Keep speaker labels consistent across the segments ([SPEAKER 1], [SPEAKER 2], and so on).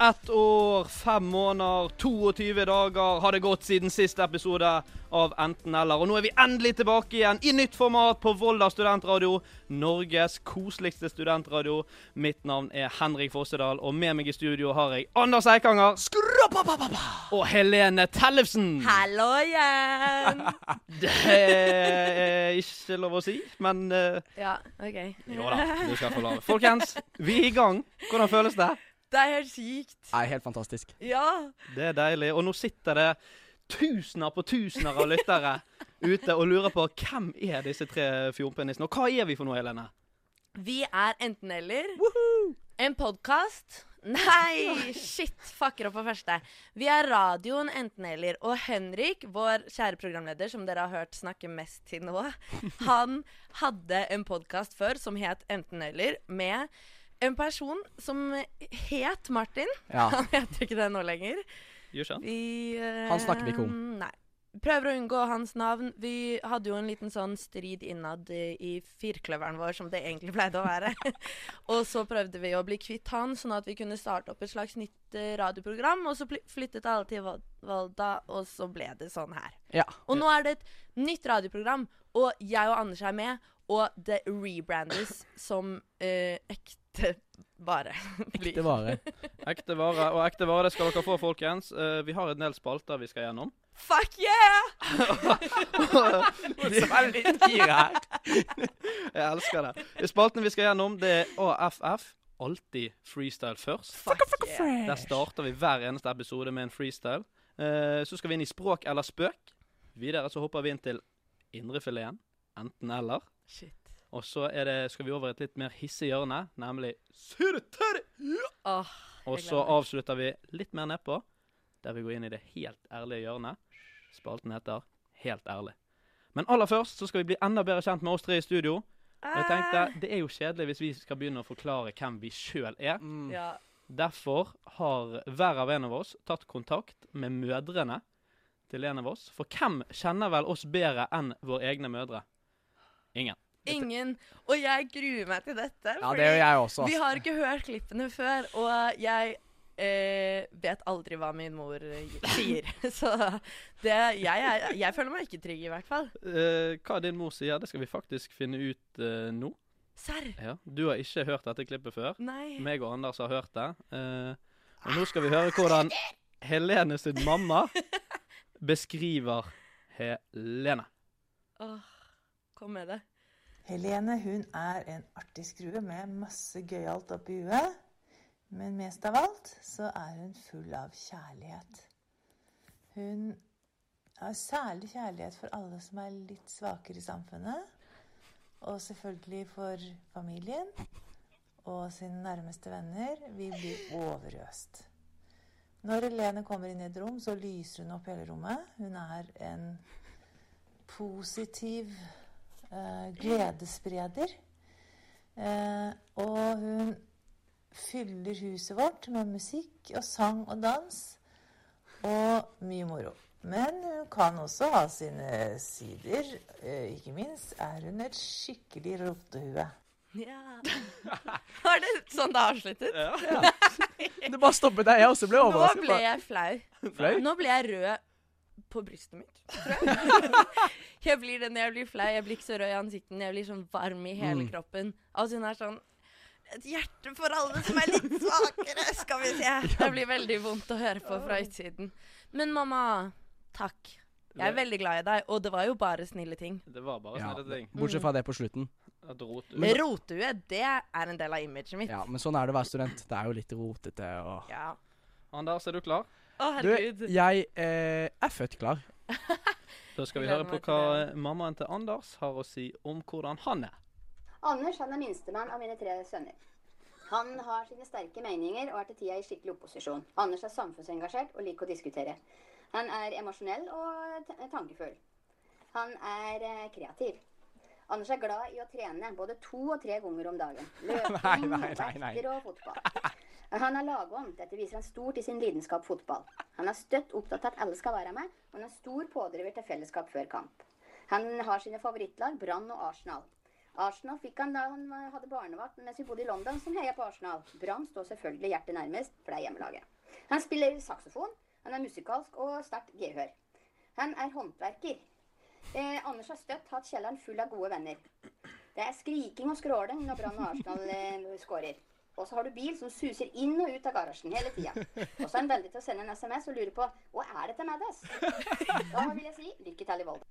[SPEAKER 1] Ett år, fem måneder, 22 dager har det gått siden siste episode av Enten eller. Og nå er vi endelig tilbake igjen i nytt format på Volda studentradio. Norges koseligste studentradio. Mitt navn er Henrik Fossedal, og med meg i studio har jeg Anders Eikanger og Helene Tellefsen.
[SPEAKER 2] Hallo igjen!
[SPEAKER 1] Det er ikke lov å si, men eh,
[SPEAKER 2] ja, OK.
[SPEAKER 1] Jo da, du skal få lov. Folkens, vi er i gang. Hvordan føles det?
[SPEAKER 2] Det er helt sykt.
[SPEAKER 3] Nei, helt fantastisk.
[SPEAKER 2] Ja.
[SPEAKER 1] Det er deilig. Og nå sitter det tusener på tusener av lyttere ute og lurer på hvem er disse tre fjompenissene, og hva er vi for noe, Helene?
[SPEAKER 2] Vi er enten-eller. En podkast. Nei, shit! Fucker opp på første. Vi er radioen Enten-eller. Og Henrik, vår kjære programleder, som dere har hørt snakke mest til nå, han hadde en podkast før som het Enten-eller, med en person som het Martin.
[SPEAKER 3] Ja.
[SPEAKER 2] Han heter ikke det nå lenger.
[SPEAKER 1] Jushan?
[SPEAKER 2] Vi, eh,
[SPEAKER 3] Han snakker vi ikke om.
[SPEAKER 2] Nei. Prøver å unngå hans navn. Vi hadde jo en liten sånn strid innad eh, i firkløveren vår, som det egentlig pleide å være. og så prøvde vi å bli kvitt han, sånn at vi kunne starte opp et slags nytt eh, radioprogram. Og så pl- flyttet alle til Val- Valda, og så ble det sånn her.
[SPEAKER 3] Ja.
[SPEAKER 2] Og nå er det et nytt radioprogram, og jeg og Anders er med. Og det rebrandes som eh, ekte vare. blir.
[SPEAKER 3] Det varer.
[SPEAKER 1] Ekte vare. Og ekte vare det skal dere få, folkens. Eh, Vi har en del spalter vi skal gjennom.
[SPEAKER 2] Fuck yeah!
[SPEAKER 1] Jeg elsker det. Spaltene vi skal gjennom, det er AFF. Alltid freestyle først.
[SPEAKER 2] Fuck yeah.
[SPEAKER 1] Der starter vi hver eneste episode med en freestyle. Eh, så skal vi inn i språk eller spøk. Videre så hopper vi inn til indrefileten. Enten eller.
[SPEAKER 2] Shit.
[SPEAKER 1] Og så er det, skal vi over et litt mer hissig hjørne, nemlig surter.
[SPEAKER 2] Åh,
[SPEAKER 1] Og
[SPEAKER 2] jeg
[SPEAKER 1] så
[SPEAKER 2] gleder meg.
[SPEAKER 1] avslutter vi litt mer nedpå, der vi går inn i det helt ærlige hjørnet. Spalten heter Helt ærlig. Men aller først så skal vi bli enda bedre kjent med oss tre i studio. Og jeg
[SPEAKER 2] Ah.
[SPEAKER 1] tenkte, Det er jo kjedelig hvis vi skal begynne å forklare hvem vi sjøl er.
[SPEAKER 3] Mm.
[SPEAKER 2] Ja.
[SPEAKER 1] Derfor har hver av en av oss tatt kontakt med mødrene til en av oss. For hvem kjenner vel oss bedre enn våre egne mødre? Ingen.
[SPEAKER 2] Ingen. Og jeg gruer meg til dette.
[SPEAKER 3] Ja, det gjør jeg også.
[SPEAKER 2] Vi har ikke hørt klippene før, og jeg eh, vet aldri hva min mor eh, sier. Så det, jeg, er- jeg føler meg ikke trygg, i hvert fall.
[SPEAKER 1] Eh, hva din mor sier, det skal vi faktisk finne ut eh, nå.
[SPEAKER 2] Serr?
[SPEAKER 1] Ja. Du har ikke hørt dette klippet før.
[SPEAKER 2] Nei.
[SPEAKER 1] Meg og Anders har hørt det. Eh, og nå skal vi høre hvordan Helene sin mamma beskriver Helene.
[SPEAKER 2] Åh, kom med det.
[SPEAKER 4] Helene hun er en artig skrue med masse gøyalt oppi huet. Men mest av alt så er hun full av kjærlighet. Hun har særlig kjærlighet for alle som er litt svakere i samfunnet. Og selvfølgelig for familien og sine nærmeste venner. Vi blir overøst. Når Helene kommer inn i et rom, så lyser hun opp hele rommet. Hun er en positiv eh, gledesspreder. Eh, og hun fyller huset vårt med musikk og sang og dans og mye moro. Men hun kan også ha sine sider. Eh, ikke minst er hun et skikkelig rotehue.
[SPEAKER 2] Ja. Var det sånn det avsluttet?
[SPEAKER 3] Det bare stoppet der. Jeg også ble
[SPEAKER 2] Nå
[SPEAKER 3] overrasket.
[SPEAKER 2] ble jeg flau.
[SPEAKER 3] Flau?
[SPEAKER 2] Nå ble jeg rød på brystet mitt, tror jeg. jeg blir det når jeg blir flau. Jeg blir ikke så rød i ansiktet. Jeg blir sånn varm i hele kroppen. Altså hun er sånn Et hjerte for alle som er litt svakere, skal vi si. Det blir veldig vondt å høre på fra utsiden. Men mamma, takk. Jeg er veldig glad i deg, og det var jo bare snille ting.
[SPEAKER 1] Det var bare sånn
[SPEAKER 3] Ja,
[SPEAKER 1] snille ting.
[SPEAKER 3] bortsett fra det på slutten.
[SPEAKER 1] At rot ut.
[SPEAKER 2] Rotehue, det er en del av imaget mitt.
[SPEAKER 3] Ja, Men sånn er det å være student. Det er jo litt rotete og
[SPEAKER 2] Ja.
[SPEAKER 1] Anders, er du klar?
[SPEAKER 2] Å,
[SPEAKER 3] Du,
[SPEAKER 2] herregud.
[SPEAKER 3] jeg eh, er født klar.
[SPEAKER 1] Da skal vi
[SPEAKER 2] Jeg
[SPEAKER 1] høre
[SPEAKER 2] gleder
[SPEAKER 1] på
[SPEAKER 2] meg til
[SPEAKER 1] hva mammaen til Anders har å si om hvordan han er.
[SPEAKER 5] Anders han er minstemann av mine tre sønner. Han har sine sterke meninger og er til tida i skikkelig opposisjon. Anders er samfunnsengasjert og liker å diskutere. Han er emosjonell og t- tankefull. Han er eh, kreativ. Anders er glad i å trene både to og tre ganger om dagen. Løping,
[SPEAKER 3] Nei, nei, nei, nei.
[SPEAKER 5] vekter og fotball. Han er lagånd. Dette viser han stort i sin lidenskap fotball. Han er støtt opptatt av at alle skal være med, og han er stor pådriver til fellesskap før kamp. Han har sine favorittlag, Brann og Arsenal. Arsenal fikk han eh, da han hadde barnevakt mens vi bodde i London, som heia på Arsenal. Brann står selvfølgelig hjertet nærmest, for det er hjemmelaget. Han spiller saksofon, han er musikalsk og sterkt gehør. Han er håndverker. Eh, Anders har støtt hatt kjelleren full av gode venner. Det er skriking og skråling når Brann og Arsenal eh, skårer. Og så har du bil som suser inn og ut av garasjen hele tida. Og så er han veldig til å sende en SMS og lure på hva er dette med oss? Da vil jeg si lykke til i Volda.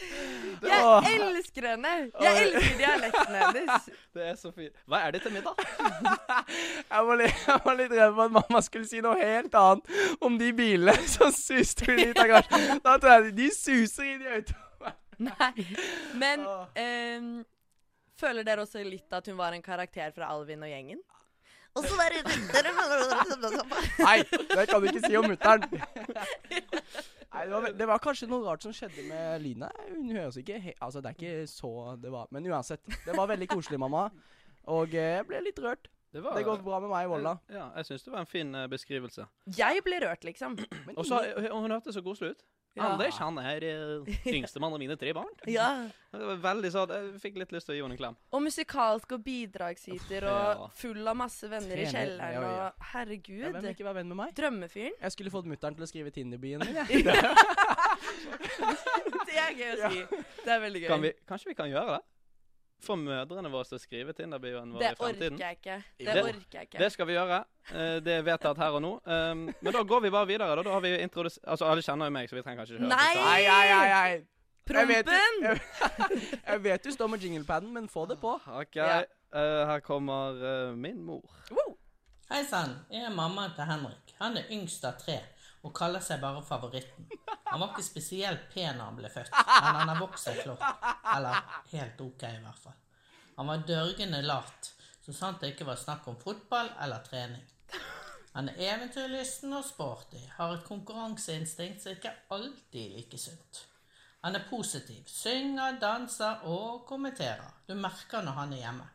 [SPEAKER 3] Åh.
[SPEAKER 2] Jeg elsker henne! Jeg elsker dialekten hennes.
[SPEAKER 1] Det er så fint. Hva er det til middag?
[SPEAKER 3] Jeg var litt, jeg var litt redd for at mamma skulle si noe helt annet om de bilene som suste inn i bagasjen. Da tror jeg de suser inn i autoen.
[SPEAKER 2] Nei. Men
[SPEAKER 3] Åh.
[SPEAKER 2] ehm, føler dere også litt at hun var en karakter fra Alvin og gjengen? Og så var det
[SPEAKER 3] Nei, det kan du ikke si om mutter'n. Nei, det var, vel- det var kanskje noe rart som skjedde med lyden her. Hun høres ikke he Altså, det er ikke så det var Men uansett, det var veldig koselig, mamma. Og eh, jeg ble litt rørt.
[SPEAKER 1] var,
[SPEAKER 3] Det går bra med meg i Volda.
[SPEAKER 1] Ja, jeg syns det var en fin eh, beskrivelse.
[SPEAKER 2] Jeg ble rørt, liksom.
[SPEAKER 3] Men
[SPEAKER 1] Og så, og hun hørtes så koselig ut.
[SPEAKER 2] Ja.
[SPEAKER 1] Anders han er eh, yngstemann av mine tre barn.
[SPEAKER 2] Ja.
[SPEAKER 1] Det var veldig sånn, Jeg fikk litt lyst til å gi henne en klem.
[SPEAKER 2] Og musikalsk og bidragsyter
[SPEAKER 1] Ja.
[SPEAKER 2] og full av masse venner i
[SPEAKER 3] Trener,
[SPEAKER 2] kjelleren
[SPEAKER 3] ja, ja.
[SPEAKER 2] og
[SPEAKER 3] Ja, Hvem vil
[SPEAKER 2] Herregud.
[SPEAKER 3] ikke være venn med meg?
[SPEAKER 2] Drømmefyren.
[SPEAKER 3] Jeg skulle fått mutter'n til å skrive Tinder-byen min. jeg.
[SPEAKER 2] Det er gøy å si. Det er veldig gøy.
[SPEAKER 1] Kan vi, kanskje vi kan gjøre det? Få mødrene våre til å skrive Tinder-bioen vår
[SPEAKER 2] Det
[SPEAKER 1] i
[SPEAKER 2] orker
[SPEAKER 1] fremtiden.
[SPEAKER 2] jeg ikke. Det
[SPEAKER 1] Det-
[SPEAKER 2] orker jeg ikke.
[SPEAKER 1] Det skal vi gjøre. Eh, Det er vedtatt her og nå. Um, Men da går vi bare videre. Da, da har vi introdus... Altså, alle kjenner jo meg, så vi trenger kanskje ikke høre
[SPEAKER 2] Nei!
[SPEAKER 1] det.
[SPEAKER 3] Nei, nei, nei, nei. Jeg vet-
[SPEAKER 2] Prompen!
[SPEAKER 3] Jeg, jeg vet du står med jinglepaden, men få det på.
[SPEAKER 1] Ok,
[SPEAKER 2] Ja.
[SPEAKER 1] eh, her kommer eh, min mor.
[SPEAKER 6] Hei sann, jeg er mammaen til Henrik. Han er yngst av tre og kaller seg bare Favoritten. Han var ikke spesielt pen da han ble født, men han har vokst seg flott. Eller helt ok, i hvert fall. Han var dørgende lat, så sant det ikke var snakk om fotball eller trening. Han er eventyrlysten og sporty, har et konkurranseinstinkt som ikke alltid er like sunt. Han er positiv, synger, danser og kommenterer. Du merker når han er hjemme.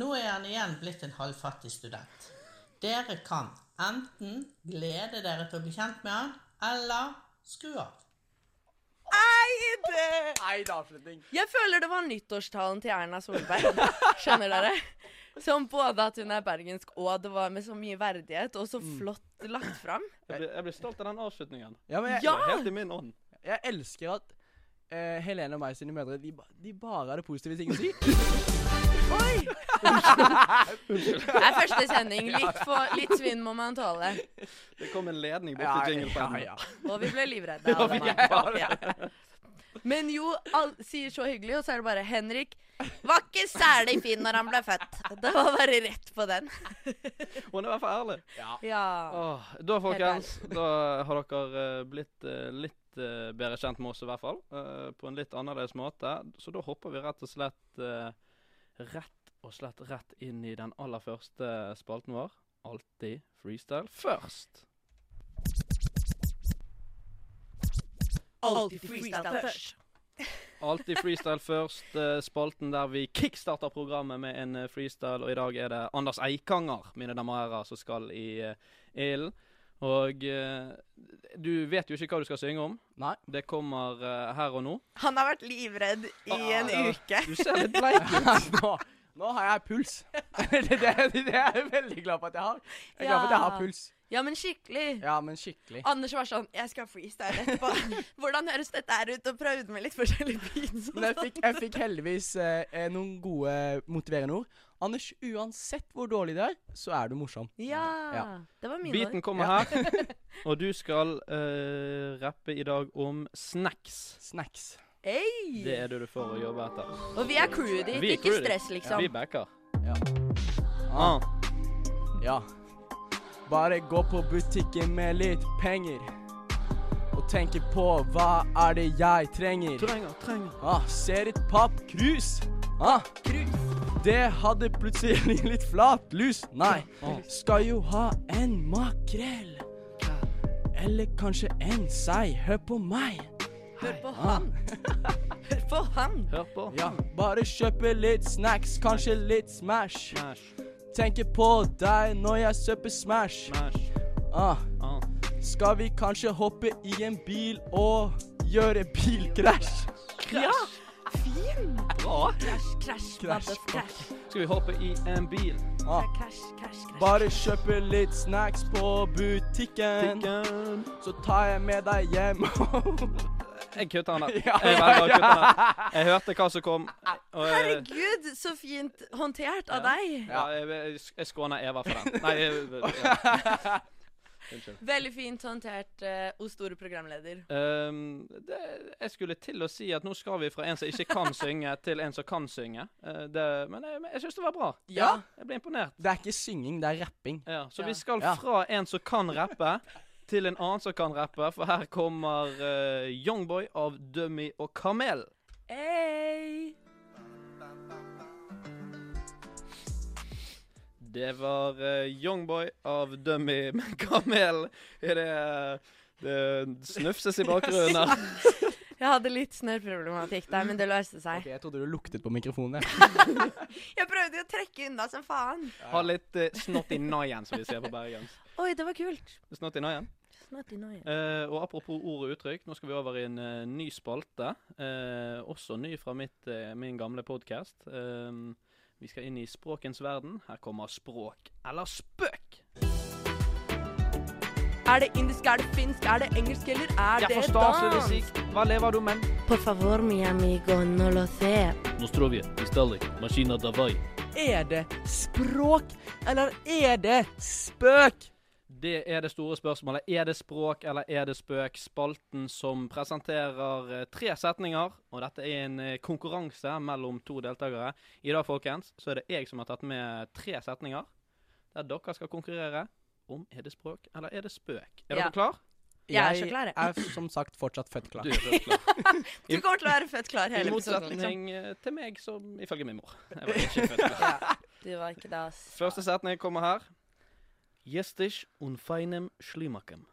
[SPEAKER 6] Nå er han igjen blitt en halvfattig student. Dere kan enten glede dere til å bli kjent med han, eller skru av.
[SPEAKER 3] Nei, det er avslutning.
[SPEAKER 2] Jeg føler det var nyttårstalen til Erna Solberg. Skjønner dere? Som både at hun er bergensk, og det var med så mye verdighet, og så flott lagt fram.
[SPEAKER 1] Jeg blir, jeg blir stolt av den avslutningen.
[SPEAKER 3] Ja, men jeg,
[SPEAKER 1] Det er Helt i min ånd.
[SPEAKER 3] jeg elsker at eh, Helene og meg sine mødre de, ba- de bare har det positive ting å si.
[SPEAKER 2] Oi! Det er første sending. Litt, for, litt svinn må man tåle.
[SPEAKER 1] Det kom en ledning bort
[SPEAKER 3] Ja,
[SPEAKER 1] til
[SPEAKER 3] ja,
[SPEAKER 1] jinglepaden.
[SPEAKER 3] ja.
[SPEAKER 2] Og vi ble livredde. alle mann. Ja. Men jo, all, sier så hyggelig, og så er det bare Henrik var ikke særlig fin når han ble født. Det var bare rett på den.
[SPEAKER 1] Hun er i hvert fall ærlig.
[SPEAKER 2] Ja.
[SPEAKER 1] Åh, da, folkens, da har dere eh, blitt eh, litt eh, bedre kjent med oss, i hvert fall. eh, på en litt annerledes måte. Så da hopper vi rett og slett eh, rett og slett rett inn i den aller første spalten vår. Alltid freestyle først.
[SPEAKER 2] Alltid freestyle først.
[SPEAKER 1] Alltid freestyle først. eh, Spalten der vi kickstarter programmet med en eh, freestyle. Og i dag er det Anders Eikanger, mine damer og herrer, som skal i eh, ilden. Og eh, du vet jo ikke hva du skal synge om.
[SPEAKER 3] Nei.
[SPEAKER 1] Det kommer eh, her og nå.
[SPEAKER 2] Han har vært livredd i en
[SPEAKER 1] ja.
[SPEAKER 2] uke.
[SPEAKER 1] Du ser litt bleik ut.
[SPEAKER 3] nå, nå har jeg puls. det, det, det er jeg veldig glad for at jeg har. Jeg er glad for at jeg har
[SPEAKER 2] Ja.
[SPEAKER 3] puls.
[SPEAKER 2] Ja, men skikkelig.
[SPEAKER 3] Ja, men skikkelig.
[SPEAKER 2] Anders var sånn Jeg skal freestyle etterpå. Hvordan høres dette her ut? Og prøvde med litt forskjellige beats. og
[SPEAKER 3] Men jeg fikk, jeg fikk heldigvis eh, eh, noen gode motiverende ord. Anders, uansett hvor dårlig det er, så er du morsom.
[SPEAKER 2] Ja.
[SPEAKER 3] Ja.
[SPEAKER 2] Det var mine
[SPEAKER 1] Beaten
[SPEAKER 2] ord.
[SPEAKER 1] kommer her. Og du skal eh, rappe i dag om snacks.
[SPEAKER 3] Snacks.
[SPEAKER 2] Hey.
[SPEAKER 1] Det er det du får å jobbe etter.
[SPEAKER 2] Og vi er crewet ditt.
[SPEAKER 1] Vi er
[SPEAKER 2] Ikke
[SPEAKER 1] crewet ditt.
[SPEAKER 2] stress,
[SPEAKER 1] Vi
[SPEAKER 2] liksom.
[SPEAKER 1] backer.
[SPEAKER 3] Ja.
[SPEAKER 1] Ah.
[SPEAKER 3] Ja. Bare gå på butikken med litt penger. Og tenke på hva er det jeg trenger.
[SPEAKER 1] Trenger, trenger.
[SPEAKER 3] Ah, ser et pappkrus. Ah, det hadde plutselig litt flat lus. Nei, skal jo ha en makrell. Eller kanskje en sei. Hør på meg.
[SPEAKER 2] Hør på han. Hør på han.
[SPEAKER 1] Hør på.
[SPEAKER 3] Ja, bare kjøpe litt snacks, kanskje litt Smash.
[SPEAKER 1] Smash,
[SPEAKER 3] Tenker på deg når jeg søper Smash.
[SPEAKER 1] smash.
[SPEAKER 3] Ah,
[SPEAKER 1] Ah.
[SPEAKER 3] skal vi kanskje hoppe i en bil og gjøre bilkrasj?
[SPEAKER 2] Ja. Fy
[SPEAKER 1] Bra.
[SPEAKER 2] Crash, crash,
[SPEAKER 3] Crash,
[SPEAKER 2] crash, crash.
[SPEAKER 1] Skal vi hoppe i en bil?
[SPEAKER 3] Ah.
[SPEAKER 2] Crash, crash, crash.
[SPEAKER 3] Bare kjøpe litt snacks på butikken,
[SPEAKER 1] Tikken.
[SPEAKER 3] så tar jeg med deg hjem.
[SPEAKER 1] Jeg kutter han der.
[SPEAKER 3] Ja,
[SPEAKER 1] Jeg, velger å kutte han der. jeg hørte hva som kom. Og, eh,
[SPEAKER 2] Herregud, så fint håndtert av deg.
[SPEAKER 1] Ja, jeg, jeg, jeg skåner Eva for den. Nei, jeg, ja.
[SPEAKER 2] Veldig fint håndtert, eh, O store programleder.
[SPEAKER 1] Ehm, det, jeg skulle til å si at nå skal vi fra en som ikke kan synge, til en som kan synge. Eh, det, men jeg, men jeg syns det var bra.
[SPEAKER 2] Ja.
[SPEAKER 1] Jeg ble imponert.
[SPEAKER 3] Det er ikke synging, det er rapping.
[SPEAKER 1] Ja, så
[SPEAKER 2] Ja.
[SPEAKER 1] vi skal
[SPEAKER 3] Ja.
[SPEAKER 1] fra en som kan rappe, til en annen som kan rappe, for her kommer eh, Youngboy av Dummy og Kamel.
[SPEAKER 2] Hey.
[SPEAKER 1] Det var eh, Youngboy av Dummy med Kamel. Er det Det snufses i bakgrunnen. her.
[SPEAKER 2] Jeg hadde litt snørrproblematikk der, men det løste seg.
[SPEAKER 3] Ok, Jeg trodde du luktet på mikrofonen. jeg.
[SPEAKER 2] Jeg prøvde jo å trekke unna som faen.
[SPEAKER 1] Ha litt eh, snott i naien, som vi sier på bergens.
[SPEAKER 2] Oi, det var kult.
[SPEAKER 1] Snott i naien.
[SPEAKER 2] Snart i Norge.
[SPEAKER 1] Eh, og apropos ord og uttrykk, nå skal vi over i en eh, ny spalte. Eh, også ny fra mitt, eh, min gamle podkast. vi skal inn i språkens verden. Her kommer språk eller spøk.
[SPEAKER 2] Er det indisk, er det finsk, er det engelsk, eller er
[SPEAKER 1] Jeg
[SPEAKER 2] det
[SPEAKER 1] forstår så det
[SPEAKER 2] dans?
[SPEAKER 1] sier. Hva lever du med?
[SPEAKER 2] Por favor, mi amigo, no lo sé.
[SPEAKER 1] Nostrovje, Istallik, Maskina Davai.
[SPEAKER 3] Er det språk, eller er det spøk?
[SPEAKER 1] Det er det store spørsmålet. Er det språk eller er det spøk? Spalten som presenterer eh, tre setninger, og dette er en eh, konkurranse mellom to deltakere. I dag, folkens, så er det jeg som har tatt med tre setninger, der dere skal konkurrere om er det språk eller er det spøk. Er
[SPEAKER 2] Ja.
[SPEAKER 1] dere klar?
[SPEAKER 2] Jeg er så klar, jeg.
[SPEAKER 3] er som sagt fortsatt født klar.
[SPEAKER 1] Du er først klar.
[SPEAKER 2] Du kommer til å være født klar
[SPEAKER 1] I
[SPEAKER 2] hele episoden. liksom.
[SPEAKER 1] motsetning eh, til meg, som ifølge min mor. Jeg var ikke født klar.
[SPEAKER 2] Du var ikke det, ass.
[SPEAKER 1] Første setning kommer her. Jestich un feinem schlimakem.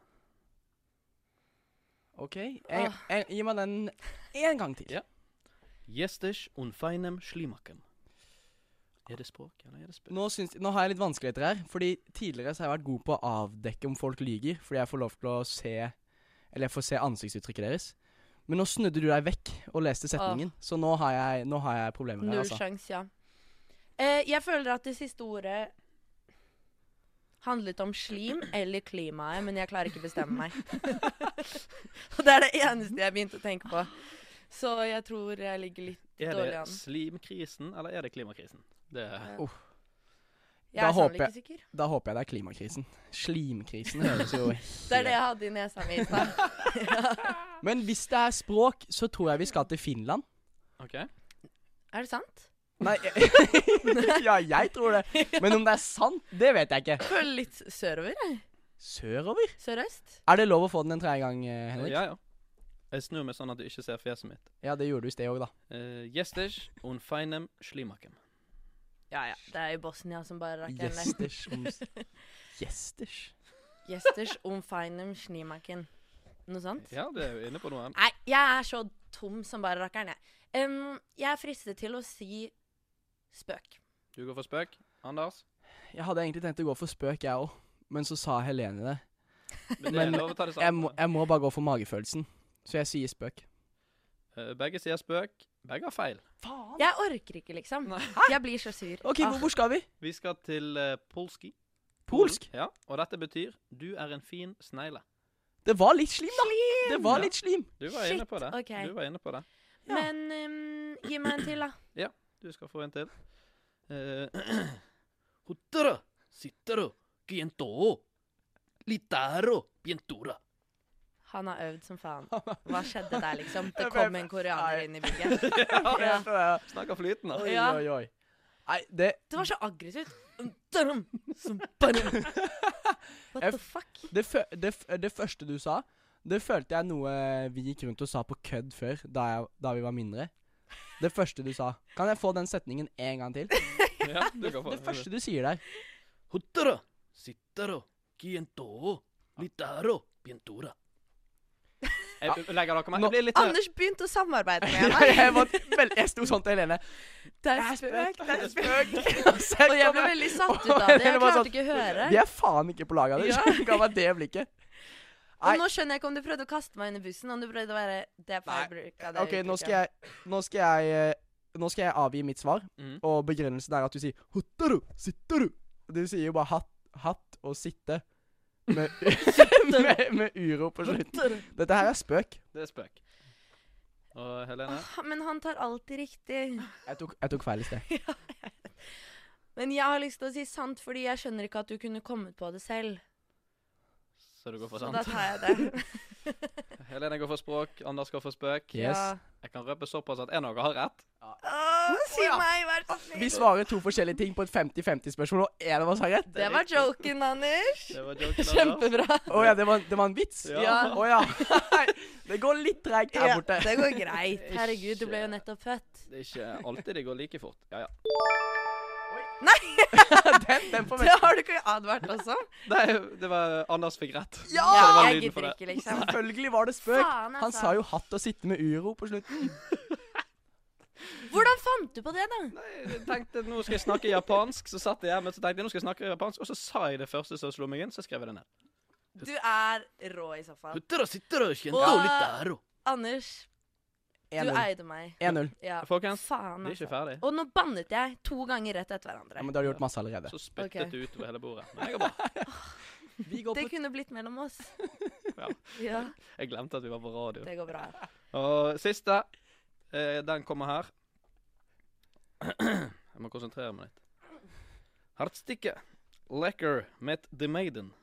[SPEAKER 3] Ok, jeg, jeg, Gi meg den én gang til.
[SPEAKER 1] Ja. Jestich un feinem schlimakem. Er det språk, eller er det spøk?
[SPEAKER 3] Nå, syns, nå har jeg litt vanskeligheter her, fordi tidligere så har jeg vært god på å avdekke om folk lyger, fordi jeg får lov til å se Eller jeg får se ansiktsuttrykket deres. Men nå snudde du deg vekk og leste setningen, så nå har jeg, nå har jeg problemer her,
[SPEAKER 2] Null
[SPEAKER 3] altså.
[SPEAKER 2] sjans, ja. Eh, jeg føler at det siste ordet handlet om slim eller klimaet, men jeg klarer ikke bestemme meg. Og det er det eneste jeg begynte å tenke på. Så jeg tror jeg ligger litt
[SPEAKER 1] Er
[SPEAKER 2] dårlig
[SPEAKER 1] det
[SPEAKER 2] an.
[SPEAKER 1] slimkrisen, eller er det klimakrisen? Det er
[SPEAKER 2] Jeg
[SPEAKER 3] Da
[SPEAKER 2] er sånn sannelig
[SPEAKER 3] håper jeg-
[SPEAKER 2] ikke sikker.
[SPEAKER 3] Da håper jeg det er klimakrisen. Slimkrisen høres jo
[SPEAKER 2] Det er det jeg hadde i nesa mi i stad.
[SPEAKER 3] Men hvis det er språk, så tror jeg vi skal til Finland.
[SPEAKER 1] OK.
[SPEAKER 2] Er det sant?
[SPEAKER 3] Nei Ja, jeg tror det. Men om det er sant, det vet jeg ikke.
[SPEAKER 2] Jeg føler litt sørover. jeg.
[SPEAKER 3] Sørover?
[SPEAKER 2] Sørøst.
[SPEAKER 3] Er det lov å få den en tredje gang, eh, Henrik?
[SPEAKER 1] Ja, ja. Jeg snur meg sånn at du ikke ser fjeset mitt.
[SPEAKER 3] Ja, det gjorde du i sted òg, da.
[SPEAKER 1] Uh, Jestich un feinem schlimakem.
[SPEAKER 2] Ja, ja. Det er jo Bosnia som bare rakk en lett.
[SPEAKER 3] Gjesters. om- Gjesters.
[SPEAKER 2] Gjesters umfeinem schnimaken. Noe sånt?
[SPEAKER 1] Ja, det er jo inne på noe.
[SPEAKER 2] Nei, jeg er så tom som bare rakkeren, jeg. Em, jeg er fristet til å si spøk.
[SPEAKER 1] Du går for spøk. Anders?
[SPEAKER 3] Jeg hadde egentlig tenkt å gå for spøk, jeg òg. Men så sa Helene det.
[SPEAKER 1] Men det er
[SPEAKER 3] Men
[SPEAKER 1] lov å ta det
[SPEAKER 3] Jeg må,
[SPEAKER 1] sammen.
[SPEAKER 3] jeg må bare gå for magefølelsen. Så jeg sier spøk.
[SPEAKER 1] Eh, begge sier spøk. Begge har feil.
[SPEAKER 3] Faen!
[SPEAKER 2] Jeg orker ikke, liksom. Jeg blir så sur. Ah,
[SPEAKER 3] OK, hvor, hvor skal vi?
[SPEAKER 1] Vi skal til eh, polski.
[SPEAKER 3] Polsk?
[SPEAKER 1] Ja, og dette betyr 'du er en fin snegle'.
[SPEAKER 3] Det var litt slim, da. Det var litt slim.
[SPEAKER 1] Du var
[SPEAKER 2] Shit,
[SPEAKER 1] inne på det.
[SPEAKER 2] ok.
[SPEAKER 1] Du var inne på det.
[SPEAKER 2] Ah, Men em, gi meg en til, da.
[SPEAKER 1] Du skal få en til. Eh, Hotara, sittaro, kientoo, litaro, pientura.
[SPEAKER 2] Han har øvd som faen. Hva skjedde der, liksom? Det kom en koreaner inn i bygget. Ja.
[SPEAKER 1] Snakker flytende.
[SPEAKER 3] Oi,
[SPEAKER 2] Ja.
[SPEAKER 3] oi, oi. Nei, det,
[SPEAKER 2] Det var så aggressivt. Dørum, som bare- What the fuck?
[SPEAKER 3] det, fø- det, f- det første du sa, det følte jeg noe vi gikk rundt og sa på kødd før, da, jeg, da vi var mindre. Det første du sa. Kan jeg få den setningen en gang til?
[SPEAKER 1] Ja, du kan få
[SPEAKER 3] Det første du sier der.
[SPEAKER 1] Hotara, sittaro, kientoo, litaro, pientura. Jeg legger dere meg. Jeg blir litt
[SPEAKER 2] Anders begynte å samarbeide med meg.
[SPEAKER 3] Jeg, var vel- jeg sto sånn til Helene.
[SPEAKER 2] Det er spøk. Det er spøk. Og jeg ble veldig satt ut av det. Jeg klarte ikke å høre.
[SPEAKER 3] Vi er faen ikke på lag av det.
[SPEAKER 2] Ja.
[SPEAKER 3] Ga meg det blikket. Nei.
[SPEAKER 2] Og nå skjønner jeg ikke om du prøvde å kaste meg under bussen. Om du prøvde å være Det er feil bruk av det
[SPEAKER 3] OK, nå
[SPEAKER 2] uttrykket.
[SPEAKER 3] skal jeg Nå skal jeg, eh, nå skal jeg avgi mitt svar,
[SPEAKER 1] Mhm.
[SPEAKER 3] og begrunnelsen er at du sier 'hottaru', 'sittaru'. Du sier jo bare 'hatt', 'hatt' og 'sitte' med, med, med uro på slutten. Dette her er spøk.
[SPEAKER 1] Det er spøk. Og Helene?
[SPEAKER 2] Åh, Men han tar alltid riktig.
[SPEAKER 3] Jeg tok, jeg tok feil i sted.
[SPEAKER 2] Men jeg har lyst til å si sant, fordi jeg skjønner ikke at du kunne kommet på det selv.
[SPEAKER 1] Så du går for
[SPEAKER 2] Så da
[SPEAKER 1] sant?
[SPEAKER 2] tar jeg det.
[SPEAKER 1] Helene går for språk, Anders går for spøk.
[SPEAKER 3] Yes.
[SPEAKER 2] Ja.
[SPEAKER 1] Jeg kan røpe såpass at en av dere har rett.
[SPEAKER 2] Åh, si
[SPEAKER 3] Ja.
[SPEAKER 2] meg, vær så
[SPEAKER 3] Vi
[SPEAKER 2] snill.
[SPEAKER 3] svarer to forskjellige ting på et 50-50-spørsmål, og én av oss har rett.
[SPEAKER 2] Det var joken, Anders.
[SPEAKER 1] Det var joken. Anders.
[SPEAKER 2] Kjempebra.
[SPEAKER 3] Å ja, det var, det var en vits?
[SPEAKER 1] Ja.
[SPEAKER 3] Å ja. Nei, det går litt treigt her
[SPEAKER 2] Ja,
[SPEAKER 3] borte.
[SPEAKER 2] det går greit. Herregud, du ble jo nettopp født.
[SPEAKER 1] Det er ikke alltid det går like fort. Ja, ja.
[SPEAKER 3] Den, den får
[SPEAKER 2] Det har du ikke advart oss om.
[SPEAKER 1] Nei, det var Anders fikk rett.
[SPEAKER 3] Ja!
[SPEAKER 1] Så det var
[SPEAKER 2] Jeg
[SPEAKER 1] lyden for
[SPEAKER 2] gidder
[SPEAKER 1] det.
[SPEAKER 2] ikke, liksom.
[SPEAKER 3] Selvfølgelig var det spøk.
[SPEAKER 2] Faen,
[SPEAKER 3] Han
[SPEAKER 2] altså.
[SPEAKER 3] sa jo 'hatt og sitte med uro' på slutten.
[SPEAKER 2] Hvordan fant du på det, da?
[SPEAKER 1] Nei, jeg tenkte nå skal jeg snakke japansk, så satt jeg hjemme og så tenkte jeg, nå skal jeg snakke japansk, og så sa jeg det første som slo meg inn, så skrev jeg det ned.
[SPEAKER 2] Du er rå i så fall.
[SPEAKER 1] Putter og sitter og kjenner
[SPEAKER 2] Wow.
[SPEAKER 1] og litt der og.
[SPEAKER 2] Anders, du
[SPEAKER 3] 1-0.
[SPEAKER 2] eide meg.
[SPEAKER 3] 1-0.
[SPEAKER 2] Ja.
[SPEAKER 1] Folkens,
[SPEAKER 2] Faen,
[SPEAKER 1] det er ikke
[SPEAKER 2] altså.
[SPEAKER 1] ferdig.
[SPEAKER 2] Og nå bannet jeg to ganger rett etter
[SPEAKER 3] Ja,
[SPEAKER 2] hverandre.
[SPEAKER 3] men da har du gjort masse allerede.
[SPEAKER 1] Så spyttet
[SPEAKER 2] Ok.
[SPEAKER 1] det utover hele bordet. Men jeg går bra.
[SPEAKER 3] Vi går
[SPEAKER 2] Det
[SPEAKER 3] på
[SPEAKER 2] kunne blitt mellom oss.
[SPEAKER 1] Ja.
[SPEAKER 2] Ja,
[SPEAKER 1] Jeg glemte at vi var på radio.
[SPEAKER 2] det går bra.
[SPEAKER 1] Og siste, eh, den kommer her. Jeg må konsentrere meg litt. Hartstikke, lekker med The Maiden.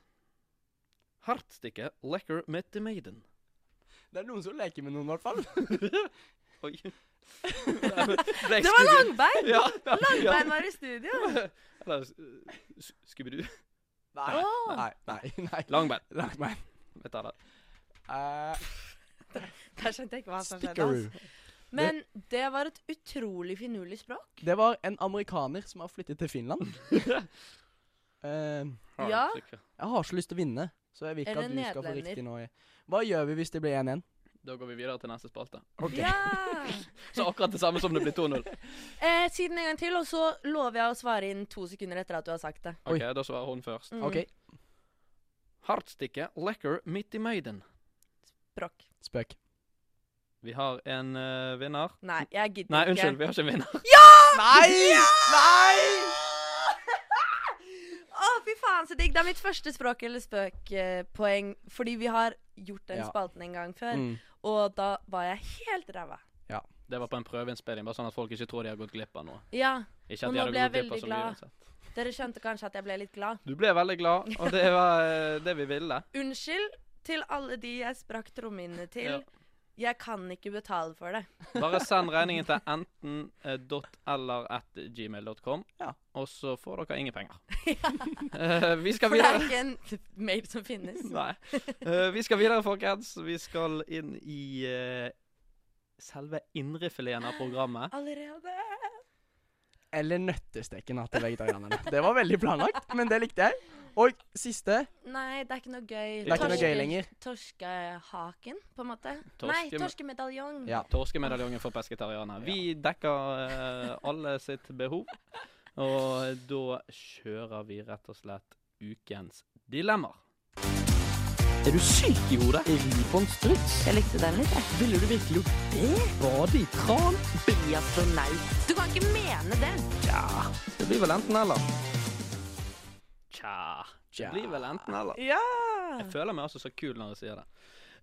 [SPEAKER 1] Hartstikke, lekker med The Maiden.
[SPEAKER 3] Det er noen som leker med noen, i hvert fall.
[SPEAKER 1] Oi.
[SPEAKER 2] Det var Langbein!
[SPEAKER 1] Ja, ja, ja.
[SPEAKER 2] Langbein var i studio.
[SPEAKER 1] Eller eh, s- Scooby-Doo.
[SPEAKER 3] Nei,
[SPEAKER 2] Åh.
[SPEAKER 3] nei, nei. nei.
[SPEAKER 1] Langbein.
[SPEAKER 3] Langbein.
[SPEAKER 1] Jeg tar det.
[SPEAKER 3] Eh,
[SPEAKER 2] Der skjønte jeg ikke hva som skjedde.
[SPEAKER 3] Stickeroo.
[SPEAKER 2] Altså. Men det var et utrolig finurlig språk.
[SPEAKER 3] Det var en amerikaner som har flyttet til Finland. Eh,
[SPEAKER 2] Ja.
[SPEAKER 1] Hartstikke.
[SPEAKER 3] jeg har så lyst til å vinne, så jeg vil ikke
[SPEAKER 2] Eller
[SPEAKER 3] at du skal få
[SPEAKER 2] nederlender.
[SPEAKER 3] riktig nå. Hva gjør vi hvis det blir 1-1?
[SPEAKER 1] Da går vi videre til neste spalte.
[SPEAKER 3] Ok.
[SPEAKER 2] Ja!
[SPEAKER 1] Så akkurat det samme som det blir 2-0.
[SPEAKER 2] Eh, si den en gang til, og så lover jeg å svare inn to sekunder etter at du har sagt det.
[SPEAKER 1] OK, da svarer hun først.
[SPEAKER 2] Mm.
[SPEAKER 3] OK.
[SPEAKER 1] Hartstikke, lekker midt i Maiden.
[SPEAKER 2] Språk.
[SPEAKER 3] Spøk.
[SPEAKER 1] Vi har en eh, vinner.
[SPEAKER 2] Nei, jeg gidder
[SPEAKER 1] Nei,
[SPEAKER 2] ikke.
[SPEAKER 1] unnskyld, vi har ikke en vinner.
[SPEAKER 3] Nei! Nei!
[SPEAKER 2] Å, fy faen, så digg. Det er mitt første språk- eller spøkpoeng. Fordi vi har gjort den
[SPEAKER 3] Ja.
[SPEAKER 2] spalten en gang før,
[SPEAKER 3] Mm.
[SPEAKER 2] og da var jeg helt ræva.
[SPEAKER 1] Det var på en prøveinnspilling, bare sånn at folk ikke tror de har gått glipp av noe.
[SPEAKER 2] Ja.
[SPEAKER 1] Ikke at
[SPEAKER 2] Og
[SPEAKER 1] de
[SPEAKER 2] nå
[SPEAKER 1] hadde
[SPEAKER 2] ble jeg
[SPEAKER 1] gått glipp av
[SPEAKER 2] veldig
[SPEAKER 1] så mye
[SPEAKER 2] glad.
[SPEAKER 1] uansett.
[SPEAKER 2] Dere skjønte kanskje at jeg ble litt glad.
[SPEAKER 1] Du ble veldig glad, og det var eh, det vi ville.
[SPEAKER 2] Unnskyld til alle de jeg sprakk trommehinnene til.
[SPEAKER 1] Ja.
[SPEAKER 2] Jeg kan ikke betale for det.
[SPEAKER 1] Bare send regningen til enten eh, dot eller at gmail.com,
[SPEAKER 3] Ja.
[SPEAKER 1] og så får dere ingen penger. Eh, vi skal
[SPEAKER 2] For det
[SPEAKER 1] videre.
[SPEAKER 2] er ikke en mail som finnes.
[SPEAKER 1] Nei. Eh, vi skal videre, folkens. Vi skal inn i eh, selve indrefileten av programmet.
[SPEAKER 2] Allerede.
[SPEAKER 3] Eller nøttesteken da, til vegetarianerne. Det var veldig planlagt, men det likte jeg. Og siste
[SPEAKER 2] Nei, det er ikke noe gøy.
[SPEAKER 1] Det er ikke noe
[SPEAKER 3] gøy lenger.
[SPEAKER 2] Torskehaken, på en måte.
[SPEAKER 1] Torske-
[SPEAKER 2] Nei, torskemedaljon.
[SPEAKER 3] Ja.
[SPEAKER 1] Torskemedaljongen for pesketarianere. Vi dekker eh, alle sitt behov. Og da kjører vi rett og slett ukens dilemmaer. Er du syk i hodet? Ribonstruts?
[SPEAKER 2] Jeg likte den litt, jeg.
[SPEAKER 1] Ville du virkelig gjort det? Bade i kran?
[SPEAKER 2] Bli astronaut. Du kan ikke mene det.
[SPEAKER 1] Det blir vel enten eller. Tja. Det
[SPEAKER 3] Tja.
[SPEAKER 1] blir vel enten eller.
[SPEAKER 2] Ja.
[SPEAKER 1] Jeg føler meg altså så kul når jeg sier det.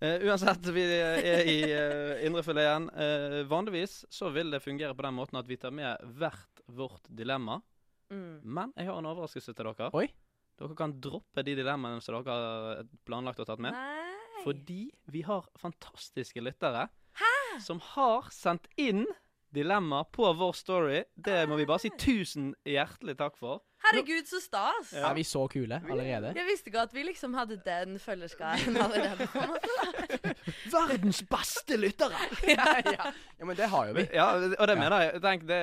[SPEAKER 1] Eh, uansett, vi er i eh, indrefileten. Eh, vanligvis så vil det fungere på den måten at vi tar med hvert vårt dilemma.
[SPEAKER 2] Mm.
[SPEAKER 1] Men jeg har en overraskelse til dere.
[SPEAKER 3] Oi.
[SPEAKER 1] Dere kan droppe de dilemmaene som dere har planlagt og tatt med.
[SPEAKER 2] Nei.
[SPEAKER 1] Fordi vi har fantastiske lyttere som har sendt inn dilemma på vår story. Det må vi bare si tusen hjertelig takk for.
[SPEAKER 2] Herregud, så stas.
[SPEAKER 1] Ja.
[SPEAKER 3] Er vi så kule allerede?
[SPEAKER 2] Jeg visste ikke at vi liksom hadde den følgerskaren allerede. på en måte.
[SPEAKER 1] Verdens beste lyttere!
[SPEAKER 3] ja. ja, men det har jo vi.
[SPEAKER 1] Ja, og det mener jeg. Tenk, det,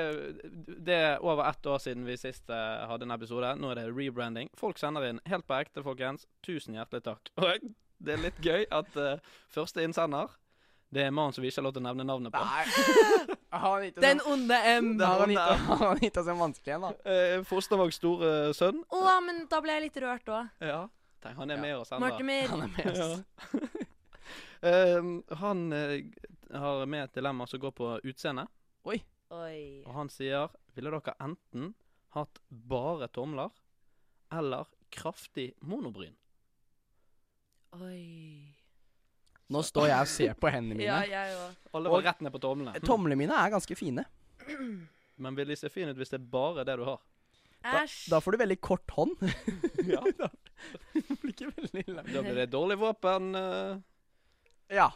[SPEAKER 1] det er over ett år siden vi sist eh, hadde en episode. Nå er det rebranding. Folk sender inn helt på ekte, folkens. Tusen hjertelig takk. Og det er litt gøy at eh, første innsender, det er mannen som vi ikke har lov til å nevne navnet på.
[SPEAKER 3] Nei. Har han gitt oss
[SPEAKER 2] Den
[SPEAKER 3] en-
[SPEAKER 2] onde M.
[SPEAKER 3] har han gitt oss- har han gitt oss en vanskelig en, da?
[SPEAKER 1] Eh, Fostervågs store sønn.
[SPEAKER 2] Å, men da ble jeg litt rørt òg.
[SPEAKER 1] Ja. Tenk, han er med oss ennå.
[SPEAKER 2] Mortimer.
[SPEAKER 3] Han er med oss.
[SPEAKER 1] Eh, han eh, har med et dilemma som går på utseende.
[SPEAKER 3] Oi.
[SPEAKER 2] Oi.
[SPEAKER 1] Og han sier Ville dere enten hatt bare tomler eller kraftig monobryn?
[SPEAKER 2] Oi.
[SPEAKER 3] Nå står jeg og ser på hendene
[SPEAKER 2] Ja,
[SPEAKER 3] mine.
[SPEAKER 2] jeg òg.
[SPEAKER 1] Alle var
[SPEAKER 3] Og-
[SPEAKER 1] rett ned på tomlene.
[SPEAKER 3] Tomlene mine er ganske fine.
[SPEAKER 1] Men vil de se fine ut hvis det er bare det du har?
[SPEAKER 2] Æsj.
[SPEAKER 3] Da får du veldig kort hånd.
[SPEAKER 1] Ja.
[SPEAKER 3] da blir ikke veldig ille.
[SPEAKER 1] Da blir det et dårlig våpen eh,
[SPEAKER 3] Ja.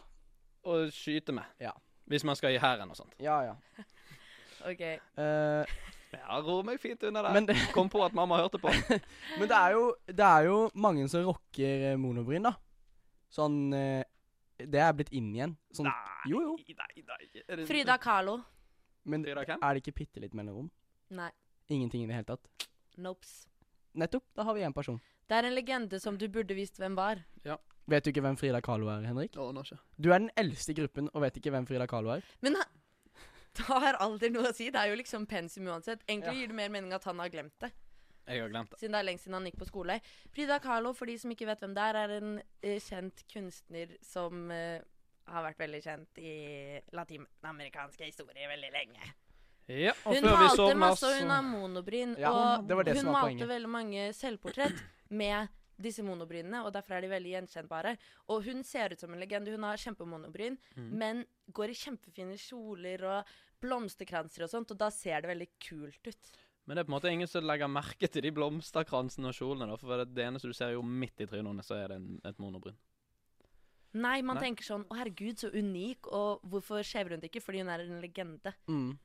[SPEAKER 1] å skyte med.
[SPEAKER 3] Ja.
[SPEAKER 1] Hvis man skal i hæren og sånt.
[SPEAKER 3] Ja, ja.
[SPEAKER 2] OK.
[SPEAKER 3] Eh,
[SPEAKER 1] Ja, ror meg fint under der.
[SPEAKER 3] men, det,
[SPEAKER 1] Kom på at mamma hørte på.
[SPEAKER 3] men det, er jo, det er jo mange som rocker eh, monobryn, da. Sånn eh, Det er blitt inn igjen. Sånn, jo, jo.
[SPEAKER 1] Nei, nei. Er det-
[SPEAKER 2] Frida Kahlo.
[SPEAKER 3] Men
[SPEAKER 1] Frida hvem?
[SPEAKER 3] er det ikke bitte litt mellomrom?
[SPEAKER 2] Nei.
[SPEAKER 3] Ingenting i det hele tatt.
[SPEAKER 2] Nopes.
[SPEAKER 3] Nettopp. Da har vi én person.
[SPEAKER 2] Det er en legende som du burde visst hvem var.
[SPEAKER 3] Vet du ikke hvem Frida Kahlo er, Henrik?
[SPEAKER 1] Aner ikke.
[SPEAKER 3] Du er den eldste i gruppen og vet ikke hvem Frida Kahlo er.
[SPEAKER 2] Men han det har aldri noe å si. Det er jo liksom pensum uansett. Egentlig gir det mer mening at han har glemt det,
[SPEAKER 1] Jeg har glemt det.
[SPEAKER 2] siden det er lengst siden han gikk på skole. Frida Kahlo, for de som ikke vet hvem det er, er en eh, kjent kunstner som eh, har vært veldig kjent i latinamerikanske historier veldig lenge.
[SPEAKER 1] Ja, og
[SPEAKER 2] Hun
[SPEAKER 1] før vi
[SPEAKER 2] malte
[SPEAKER 1] sovner,
[SPEAKER 2] masse,
[SPEAKER 1] så
[SPEAKER 2] og hun har monobryn.
[SPEAKER 3] Ja,
[SPEAKER 2] og
[SPEAKER 3] det var det
[SPEAKER 2] hun
[SPEAKER 3] som var
[SPEAKER 2] malte
[SPEAKER 3] poenget.
[SPEAKER 2] veldig mange selvportrett med disse monobrynene, og derfor er de veldig gjenkjennbare. Og hun ser ut som en legende. Hun har kjempemonobryn,
[SPEAKER 3] Mm.
[SPEAKER 2] men går i kjempefine kjoler og blomsterkranser og sånt, og da ser det veldig kult ut.
[SPEAKER 1] Men det er på en måte ingen som legger merke til de blomsterkransene og kjolene, da, for det eneste du ser jo midt i trynet hennes, så er det en, et monobryn.
[SPEAKER 2] Nei, man
[SPEAKER 1] Nei.
[SPEAKER 2] tenker sånn Å, herregud, så unik, og hvorfor skjever hun det ikke? Fordi hun er en legende.
[SPEAKER 3] Mm.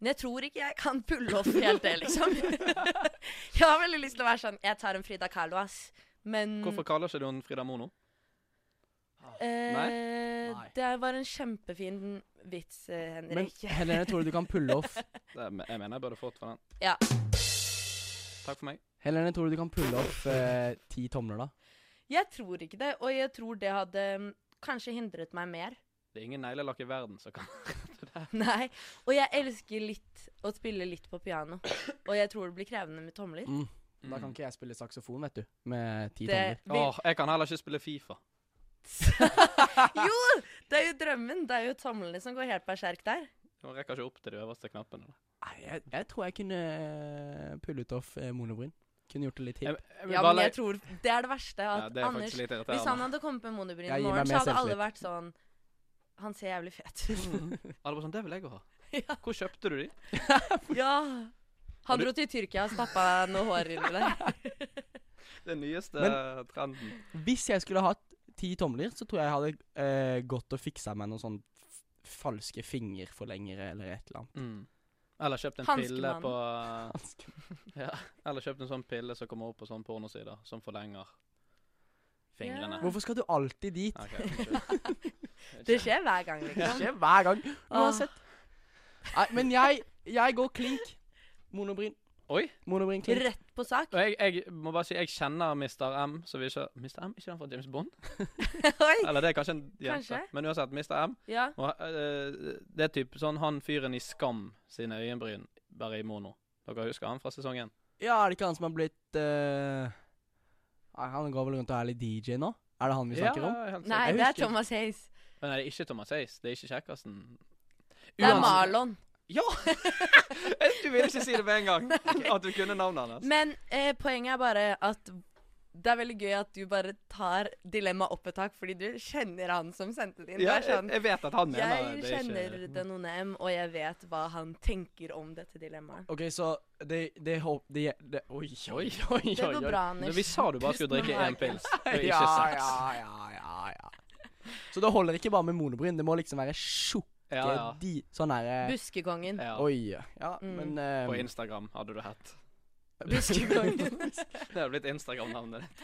[SPEAKER 2] Men jeg tror ikke jeg kan pulle off helt det, liksom. jeg har veldig lyst til å være sånn Jeg tar en Frida Kahlo, ass. Men
[SPEAKER 1] Hvorfor kaller ikke du henne Frida Mono?
[SPEAKER 2] Eh,
[SPEAKER 3] Nei.
[SPEAKER 2] Det var en kjempefin vits, eh,
[SPEAKER 3] Men
[SPEAKER 2] Henrik.
[SPEAKER 3] Helene, tror du du kan pulle off
[SPEAKER 1] Det, er- jeg mener jeg burde fått for den.
[SPEAKER 2] Ja.
[SPEAKER 1] Takk for meg.
[SPEAKER 3] Helene, tror du du kan pulle off eh, ti tomler, da?
[SPEAKER 2] Jeg tror ikke det, og jeg tror det hadde mm, kanskje hindret meg mer.
[SPEAKER 1] Det er ingen neglelakk i verden som kan
[SPEAKER 2] Nei. Og jeg elsker litt å spille litt på piano, og jeg tror det blir krevende med tomler.
[SPEAKER 3] Da kan ikke jeg spille saksofon, vet du. Med ti
[SPEAKER 2] Det
[SPEAKER 3] tomler.
[SPEAKER 2] vil...
[SPEAKER 1] Mm. Åh, jeg kan heller ikke spille Fifa.
[SPEAKER 2] Jo! Det er jo drømmen. Det er jo tomlene som går helt berserk der.
[SPEAKER 1] Jeg rekker ikke opp til de øverste knappene. da.
[SPEAKER 3] Nei, jeg, jeg tror jeg kunne eh, pullet off eh, monobryn. Kunne gjort det litt
[SPEAKER 1] Jeg,
[SPEAKER 3] hipp.
[SPEAKER 1] jeg vil
[SPEAKER 2] Ja,
[SPEAKER 1] bare
[SPEAKER 2] men jeg
[SPEAKER 1] legge-
[SPEAKER 2] tror Det er det verste. At
[SPEAKER 1] ja, det er
[SPEAKER 2] Anders
[SPEAKER 1] faktisk litt
[SPEAKER 2] Hvis han
[SPEAKER 1] irriterende.
[SPEAKER 2] hadde kommet med monobryn
[SPEAKER 3] Jeg
[SPEAKER 2] i
[SPEAKER 3] gir meg
[SPEAKER 2] morgen, så
[SPEAKER 3] mer
[SPEAKER 2] hadde alle vært sånn Han ser jævlig fet ut.
[SPEAKER 1] Alle bare sånn, det vil jeg jo ha.
[SPEAKER 2] Ja.
[SPEAKER 1] Hvor kjøpte du de?
[SPEAKER 2] Ja.
[SPEAKER 1] Og
[SPEAKER 2] Han
[SPEAKER 1] du-
[SPEAKER 2] dro til Tyrkia og stappa noe hår inn i det.
[SPEAKER 1] Den nyeste trenden.
[SPEAKER 3] Hvis jeg skulle hatt ti tomler, så tror jeg jeg hadde eh, gått og fiksa meg noen sånn f- falske fingerforlengere eller et eller annet.
[SPEAKER 1] Mm. Eller kjøpt en pille
[SPEAKER 2] Hanskemannen.
[SPEAKER 1] på
[SPEAKER 3] Ganske-
[SPEAKER 1] ja. Eller kjøpt en sånn pille som kommer opp på sånne pornosider, som forlenger fingrene.
[SPEAKER 3] Hvorfor skal du alltid dit?
[SPEAKER 1] Ok, unnskyld.
[SPEAKER 2] Det skjer hver gang,
[SPEAKER 3] Det
[SPEAKER 2] liksom.
[SPEAKER 3] skjer hver gang.
[SPEAKER 2] Åh.
[SPEAKER 3] Uansett. Nei, men jeg, jeg går klink. Monobryn.
[SPEAKER 1] Oi.
[SPEAKER 3] Monobryn klink.
[SPEAKER 2] Rett på sak.
[SPEAKER 1] Og jeg, jeg må bare si jeg kjenner Mr. M. Så vi ikke, Mr. M, ikke han fra James Bond?
[SPEAKER 2] Oi!
[SPEAKER 1] Eller det er kanskje en jente.
[SPEAKER 2] Kanskje.
[SPEAKER 1] Men uansett, Mr. M.
[SPEAKER 2] Ja.
[SPEAKER 1] Og, eh, det er typ sånn han fyren i Skam sine øyenbryn, bare i mono. Dere husker han fra sesongen?
[SPEAKER 3] Ja, er det ikke han som har blitt eh, Nei, Han går vel rundt og er litt DJ nå? Er det han vi snakker om?
[SPEAKER 1] helt
[SPEAKER 2] Nei,
[SPEAKER 1] sikkert.
[SPEAKER 2] det er
[SPEAKER 3] husker.
[SPEAKER 2] Thomas Hayes.
[SPEAKER 1] Men nei, det er ikke Thomas Hayes. Det er ikke Kjekkasen.
[SPEAKER 2] Det er
[SPEAKER 1] Uansett-
[SPEAKER 2] Marlon.
[SPEAKER 1] Ja! du ville ikke si det med en gang, at du kunne navnet hans.
[SPEAKER 2] Men eh, poenget er bare at det er veldig gøy at du bare tar dilemmaet opp et tak, fordi du kjenner han som sendte det inn.
[SPEAKER 1] Ja,
[SPEAKER 2] det er
[SPEAKER 1] jeg,
[SPEAKER 2] sånn,
[SPEAKER 1] jeg vet at han mener
[SPEAKER 2] jeg
[SPEAKER 1] det. det. er
[SPEAKER 2] kjenner
[SPEAKER 1] ikke-
[SPEAKER 2] den onde M, og jeg vet hva han tenker om dette dilemmaet.
[SPEAKER 3] Ok, så det, det, håp- det, det Oi, oi, oi, oi.
[SPEAKER 2] Det går
[SPEAKER 3] oi.
[SPEAKER 2] bra,
[SPEAKER 1] Men
[SPEAKER 2] Anders.
[SPEAKER 1] vi sa du bare skulle
[SPEAKER 2] Pust med
[SPEAKER 1] drikke én
[SPEAKER 2] magen.
[SPEAKER 1] pils, og ikke
[SPEAKER 3] ja,
[SPEAKER 1] seks.
[SPEAKER 3] ja, ja, ja, ja. Så det holder ikke bare med monobryn. Det må liksom være tjukke
[SPEAKER 1] Ja, ja.
[SPEAKER 3] de Sånn derre
[SPEAKER 2] Buskekongen.
[SPEAKER 1] ja.
[SPEAKER 3] Oi. Ja,
[SPEAKER 2] Mm.
[SPEAKER 3] men
[SPEAKER 1] På
[SPEAKER 3] eh,
[SPEAKER 1] Instagram hadde du hett.
[SPEAKER 2] Buskekongen.
[SPEAKER 1] Det hadde blitt Instagram-navnet ditt.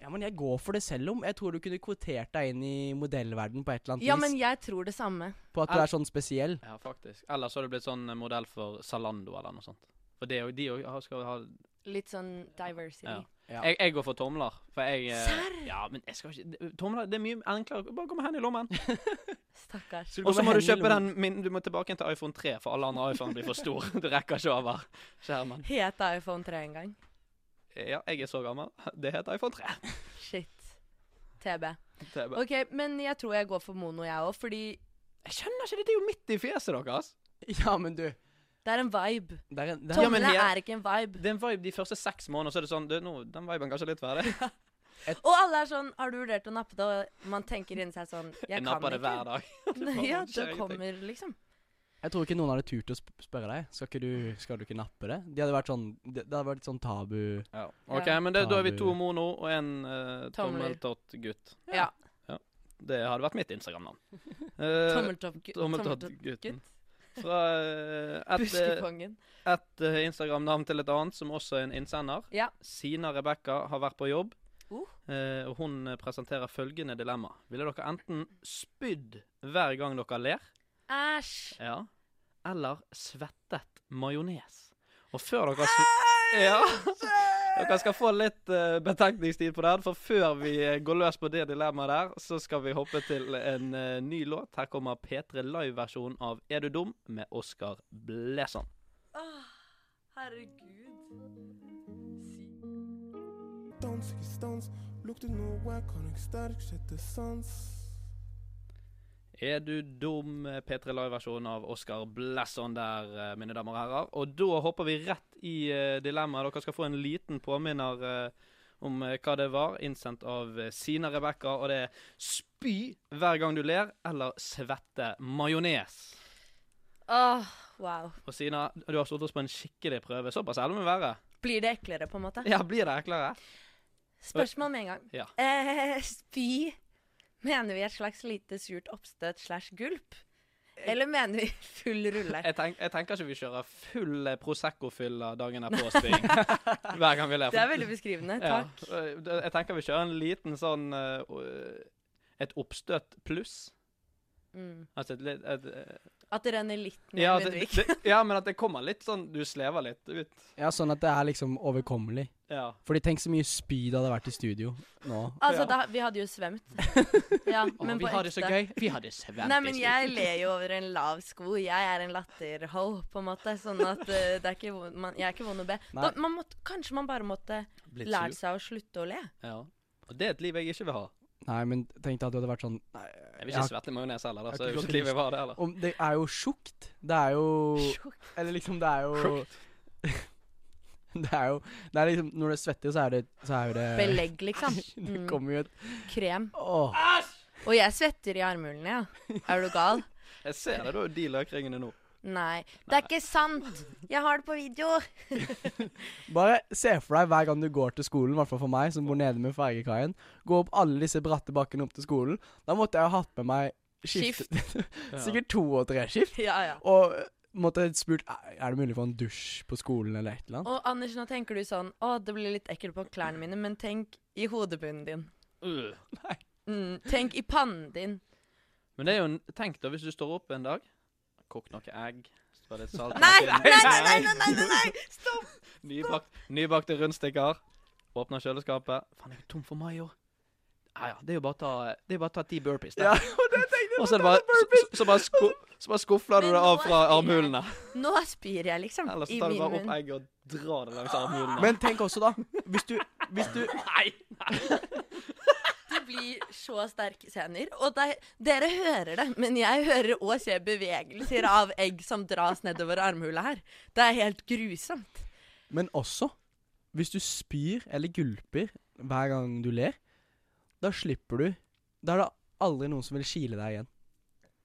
[SPEAKER 3] Ja, men jeg går for det selv om. Jeg tror du kunne kvotert deg inn i modellverden på et eller annet
[SPEAKER 2] Ja, men
[SPEAKER 3] vis.
[SPEAKER 2] jeg tror det samme.
[SPEAKER 3] På at du er sånn spesiell.
[SPEAKER 1] Ja, faktisk. Eller så hadde du blitt sånn eh, modell for Zalando eller noe sånt. For det, er jo- de òg skal ha
[SPEAKER 2] Litt sånn diversity.
[SPEAKER 1] Ja.
[SPEAKER 3] Ja.
[SPEAKER 1] jeg, jeg går for tomler. For jeg eh,
[SPEAKER 2] Serr?
[SPEAKER 1] Ja, men jeg skal ikke Tomler det er mye enklere. Bare gå med hendene i lommen.
[SPEAKER 2] Stakkars.
[SPEAKER 1] Og så
[SPEAKER 3] med
[SPEAKER 1] må du
[SPEAKER 3] hendene i
[SPEAKER 1] kjøpe den min, Du må tilbake igjen til iPhone 3, for alle andre iPhone blir for stor. Du rekker ikke over skjermen.
[SPEAKER 2] Het iPhone 3 en gang.
[SPEAKER 1] Ja, jeg er så gammel. Det heter iPhone 3.
[SPEAKER 2] Shit. TB.
[SPEAKER 1] Det er bare-
[SPEAKER 2] OK, men jeg tror jeg går for mono, jeg òg, fordi
[SPEAKER 1] Jeg skjønner ikke, dette er jo midt i fjeset deres.
[SPEAKER 3] Ja, men du
[SPEAKER 2] det er en vibe.
[SPEAKER 3] det er en, det er,
[SPEAKER 1] Ja, men
[SPEAKER 2] Tomlene
[SPEAKER 1] jeg-
[SPEAKER 2] er ikke en vibe.
[SPEAKER 1] Det er en vibe de første seks månedene, så er det sånn du, nå, Den viben er kanskje litt ferdig.
[SPEAKER 2] Og alle er sånn Har du vurdert å nappe det? Og man tenker inni seg sånn Jeg,
[SPEAKER 1] Jeg
[SPEAKER 2] kan
[SPEAKER 1] napper
[SPEAKER 2] ikke.
[SPEAKER 1] det hver dag. liksom.
[SPEAKER 2] ja,
[SPEAKER 1] skjer
[SPEAKER 2] det
[SPEAKER 1] ingenting.
[SPEAKER 2] kommer, liksom.
[SPEAKER 3] Jeg tror ikke noen hadde turt å sp spørre deg. Skal, ikke du, skal du ikke nappe det? De hadde vært sånn, det, det hadde vært sånn tabu
[SPEAKER 1] Ja. OK,
[SPEAKER 2] Ja.
[SPEAKER 1] men det, da er vi
[SPEAKER 3] Tabu.
[SPEAKER 1] to mono og en uh,
[SPEAKER 2] Tomler.
[SPEAKER 1] tommeltott-gutt.
[SPEAKER 2] Ja.
[SPEAKER 1] Det hadde vært mitt Instagram-navn. Uh,
[SPEAKER 2] Tommeltopp-gutt.
[SPEAKER 1] Tommeltott-gutten. fra Mm. eh, et, eh,
[SPEAKER 2] Buskekongen.
[SPEAKER 1] et eh, Instagram-navn til et annet, som også er en innsender.
[SPEAKER 2] Ja.
[SPEAKER 1] Sina Rebekka har vært på jobb,
[SPEAKER 2] Uh.
[SPEAKER 1] eh, og hun eh, presenterer følgende dilemma. Ville dere enten spydd hver gang dere ler,
[SPEAKER 2] Æsj.
[SPEAKER 1] ja, eller svettet majones? Og før dere sv- ja. Dere skal få litt eh, betenkningstid på den, for før vi eh, går løs på det dilemmaet der, så skal vi hoppe til en eh, ny låt. Her kommer P3 Live-versjonen av Er du dum? med Oskar Blesan.
[SPEAKER 2] Åh, herregud. Si-
[SPEAKER 7] dans, ikke stans. Lukter noe, kan jeg sterk sjette sans.
[SPEAKER 1] Er du dum? P3 Live-versjonen av Oskar Blesson der, eh, mine damer og herrer. Og da hopper vi rett i eh, dilemmaet. Dere skal få en liten påminner eh, om eh, hva det var, innsendt av eh, Sina Rebekka. Og det er spy hver gang du ler, eller svette majones.
[SPEAKER 2] Åh, wow.
[SPEAKER 1] Og Sina, du har stått oss på en skikkelig prøve. Såpass ærlig må vi være.
[SPEAKER 2] Blir det eklere, på en måte?
[SPEAKER 1] Ja, blir det eklere?
[SPEAKER 2] Spørsmål med en gang.
[SPEAKER 1] Ja.
[SPEAKER 2] Eh, spy Mener vi et slags lite surt oppstøt slash gulp? Eller mener vi full rulle?
[SPEAKER 1] Jeg, tenk, jeg tenker ikke vi kjører full eh, Prosecco-fylla dagen er påspying hver gang vi ler.
[SPEAKER 2] Det er veldig beskrivende.
[SPEAKER 1] Ja,
[SPEAKER 2] Takk.
[SPEAKER 1] øh, det- Jeg tenker vi kjører en liten sånn øh, øh, Et oppstøt pluss.
[SPEAKER 2] Mm.
[SPEAKER 1] Altså et litt et, øh,
[SPEAKER 2] At det renner litt ned
[SPEAKER 1] ja, det,
[SPEAKER 2] Ludvig.
[SPEAKER 1] det, ja, men at det kommer litt sånn Du slever litt ut.
[SPEAKER 3] Ja, sånn at det er liksom overkommelig.
[SPEAKER 1] Ja.
[SPEAKER 3] Fordi tenk så mye spy det hadde vært i studio
[SPEAKER 1] Ja.
[SPEAKER 3] nå.
[SPEAKER 2] Altså, da, vi hadde jo svømt. Ja, men på ekte.
[SPEAKER 1] Vi har det så
[SPEAKER 2] Nei, men jeg ler jo over en lav sko. Jeg er en latterho, på en måte. Sånn at eh, det er ikke, vond- man, jeg er ikke vond å be.
[SPEAKER 3] Nei.
[SPEAKER 2] Da, man måtte, kanskje man bare måtte lært seg å slutte å le.
[SPEAKER 1] Ja. Og det er et liv jeg ikke vil ha.
[SPEAKER 3] Nei, men tenk deg at du hadde vært sånn nei,
[SPEAKER 1] Jeg vil
[SPEAKER 3] jeg
[SPEAKER 1] ikke
[SPEAKER 3] har-
[SPEAKER 1] svette i majones heller, da, så
[SPEAKER 3] Jeg
[SPEAKER 1] det er jo
[SPEAKER 3] har ikke
[SPEAKER 1] ikke et liv jeg vil ha det heller.
[SPEAKER 3] om, Det er jo tjukt. Det er jo Eller liksom, det er jo Det er jo Det er liksom Når du svetter, så er det Så er jo det
[SPEAKER 2] Belegg, liksom.
[SPEAKER 3] Det
[SPEAKER 2] Mm.
[SPEAKER 3] kommer jo et
[SPEAKER 2] Krem.
[SPEAKER 3] Åh.
[SPEAKER 2] Og jeg svetter i armhulene, ja. Er du gal?
[SPEAKER 1] Jeg ser det, da, de løkringene nå.
[SPEAKER 2] Nei. Det er ikke sant! Jeg har det på video!
[SPEAKER 3] Bare se for deg hver gang du går til skolen, i hvert fall for meg som bor nede med fergekaien. Gå opp alle disse bratte bakkene opp til skolen. Da måtte jeg ha hatt med meg skift. Sikkert to og tre skift.
[SPEAKER 2] Ja, ja.
[SPEAKER 3] Og måtte jeg spurt "Er- Er det mulig å få en dusj på skolen eller et eller annet.
[SPEAKER 2] Og Anders, nå tenker du sånn Å, det blir litt ekkelt på klærne mine, men tenk i hodebunnen din.
[SPEAKER 1] Øh.
[SPEAKER 2] Mm, tenk i pannen din.
[SPEAKER 1] Men det er jo en, tenk da, hvis du står opp en dag, kok noe egg strø litt salt
[SPEAKER 2] Nei,
[SPEAKER 1] på
[SPEAKER 2] nei,
[SPEAKER 1] skinnet.
[SPEAKER 2] nei, nei! nei, nei, nei, nei. Stopp!
[SPEAKER 1] Nybakt, nybakte rundstykker. Åpner kjøleskapet. Faen, jeg er jo tom for mayo. Ja ja, det er jo bare å ta, det er bare å ta ti burpees. da.
[SPEAKER 3] Ja, og det tenkte jeg
[SPEAKER 1] og så, er det bare, så, så, bare sku, så bare skufler du
[SPEAKER 2] Men
[SPEAKER 1] det av
[SPEAKER 2] nå
[SPEAKER 1] fra
[SPEAKER 2] er det-
[SPEAKER 1] armhulene.
[SPEAKER 2] Nå spyr jeg, liksom.
[SPEAKER 1] Eller så
[SPEAKER 2] I
[SPEAKER 1] tar du
[SPEAKER 2] min
[SPEAKER 1] bare opp
[SPEAKER 2] munn.
[SPEAKER 1] egget og drar det langs armhulene.
[SPEAKER 3] Men tenk også, da. Hvis du, hvis du
[SPEAKER 1] nei!
[SPEAKER 2] Du blir så sterke scener. Og de, dere hører det, men jeg hører òg se bevegelser av egg som dras nedover armhula her. Det er helt grusomt.
[SPEAKER 3] Men også hvis du spyr eller gulper hver gang du ler, da slipper du Da er det aldri noen som vil kile deg igjen.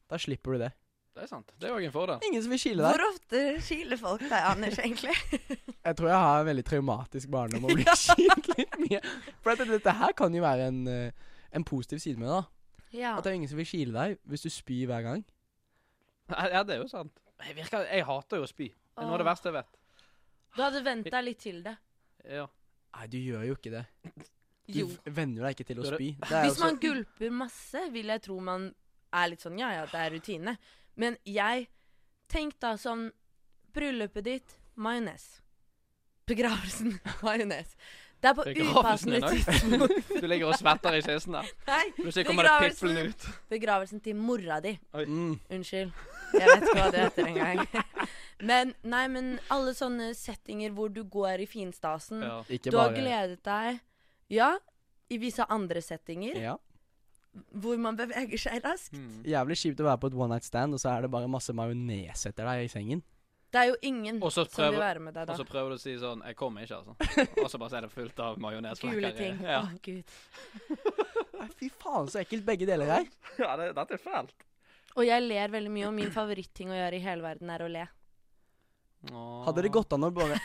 [SPEAKER 3] Da slipper du det.
[SPEAKER 1] Det er sant. Det er òg en fordel.
[SPEAKER 3] Ingen som vil kile deg.
[SPEAKER 2] Hvor ofte kiler folk deg, Anders, egentlig?
[SPEAKER 3] Jeg tror jeg har en veldig traumatisk barndom og blir skilt litt mye. For dette, dette her kan jo være en, eh, en positiv side med det. da.
[SPEAKER 2] Ja.
[SPEAKER 3] At det er ingen som vil kile deg hvis du spyr hver gang.
[SPEAKER 1] Ja, det er jo sant. Jeg, virker, jeg hater jo å spy. Det er noe av det
[SPEAKER 2] Åh.
[SPEAKER 1] verste jeg vet.
[SPEAKER 2] Du hadde vent deg litt til det.
[SPEAKER 1] Ja.
[SPEAKER 3] Nei, du gjør jo ikke det. Du
[SPEAKER 2] Jo.
[SPEAKER 3] v- venner deg ikke til å
[SPEAKER 1] Dere-
[SPEAKER 3] spy. Det er
[SPEAKER 2] Hvis
[SPEAKER 3] også-
[SPEAKER 2] man gulper masse, vil jeg tro man er litt sånn ja ja, det er rutine. Men jeg Tenk da som bryllupet ditt majones. Begravelsen majones. Det er på
[SPEAKER 1] Begravelsen
[SPEAKER 2] upassende
[SPEAKER 1] en dag.
[SPEAKER 2] tidspunkt.
[SPEAKER 1] Du ligger og svetter i kisten der.
[SPEAKER 2] Nei,
[SPEAKER 1] Plutselig kommer det
[SPEAKER 2] Begravelsen.
[SPEAKER 1] piflende ut.
[SPEAKER 2] begravelsen til mora di.
[SPEAKER 3] mm.
[SPEAKER 2] Unnskyld. Jeg vet ikke hva det heter engang. Men nei, men alle sånne settinger hvor du går i finstasen.
[SPEAKER 1] Ja.
[SPEAKER 3] Ikke
[SPEAKER 2] Du har
[SPEAKER 3] bare
[SPEAKER 2] gledet deg Ja, i visse andre settinger
[SPEAKER 3] ja.
[SPEAKER 2] hvor man beveger seg raskt.
[SPEAKER 1] Mm.
[SPEAKER 3] Jævlig kjipt å være på et one night stand, og så er det bare masse majones etter deg i sengen.
[SPEAKER 2] Det er jo ingen
[SPEAKER 1] Og så
[SPEAKER 2] som vil
[SPEAKER 1] prøver-
[SPEAKER 2] være med deg
[SPEAKER 1] Og
[SPEAKER 2] da.
[SPEAKER 1] så prøver du å si sånn 'Jeg kommer ikke', altså. Og så bare så er det fullt av majonesflekker.
[SPEAKER 2] Gule ting.
[SPEAKER 1] Ja.
[SPEAKER 2] Å, Gud.
[SPEAKER 3] Nei, Fy faen, så ekkelt begge deler her.
[SPEAKER 1] ja, det, dette er fælt.
[SPEAKER 2] Og jeg ler veldig mye, og min favoritting å gjøre i hele verden er å le.
[SPEAKER 3] Hadde det gått an å bare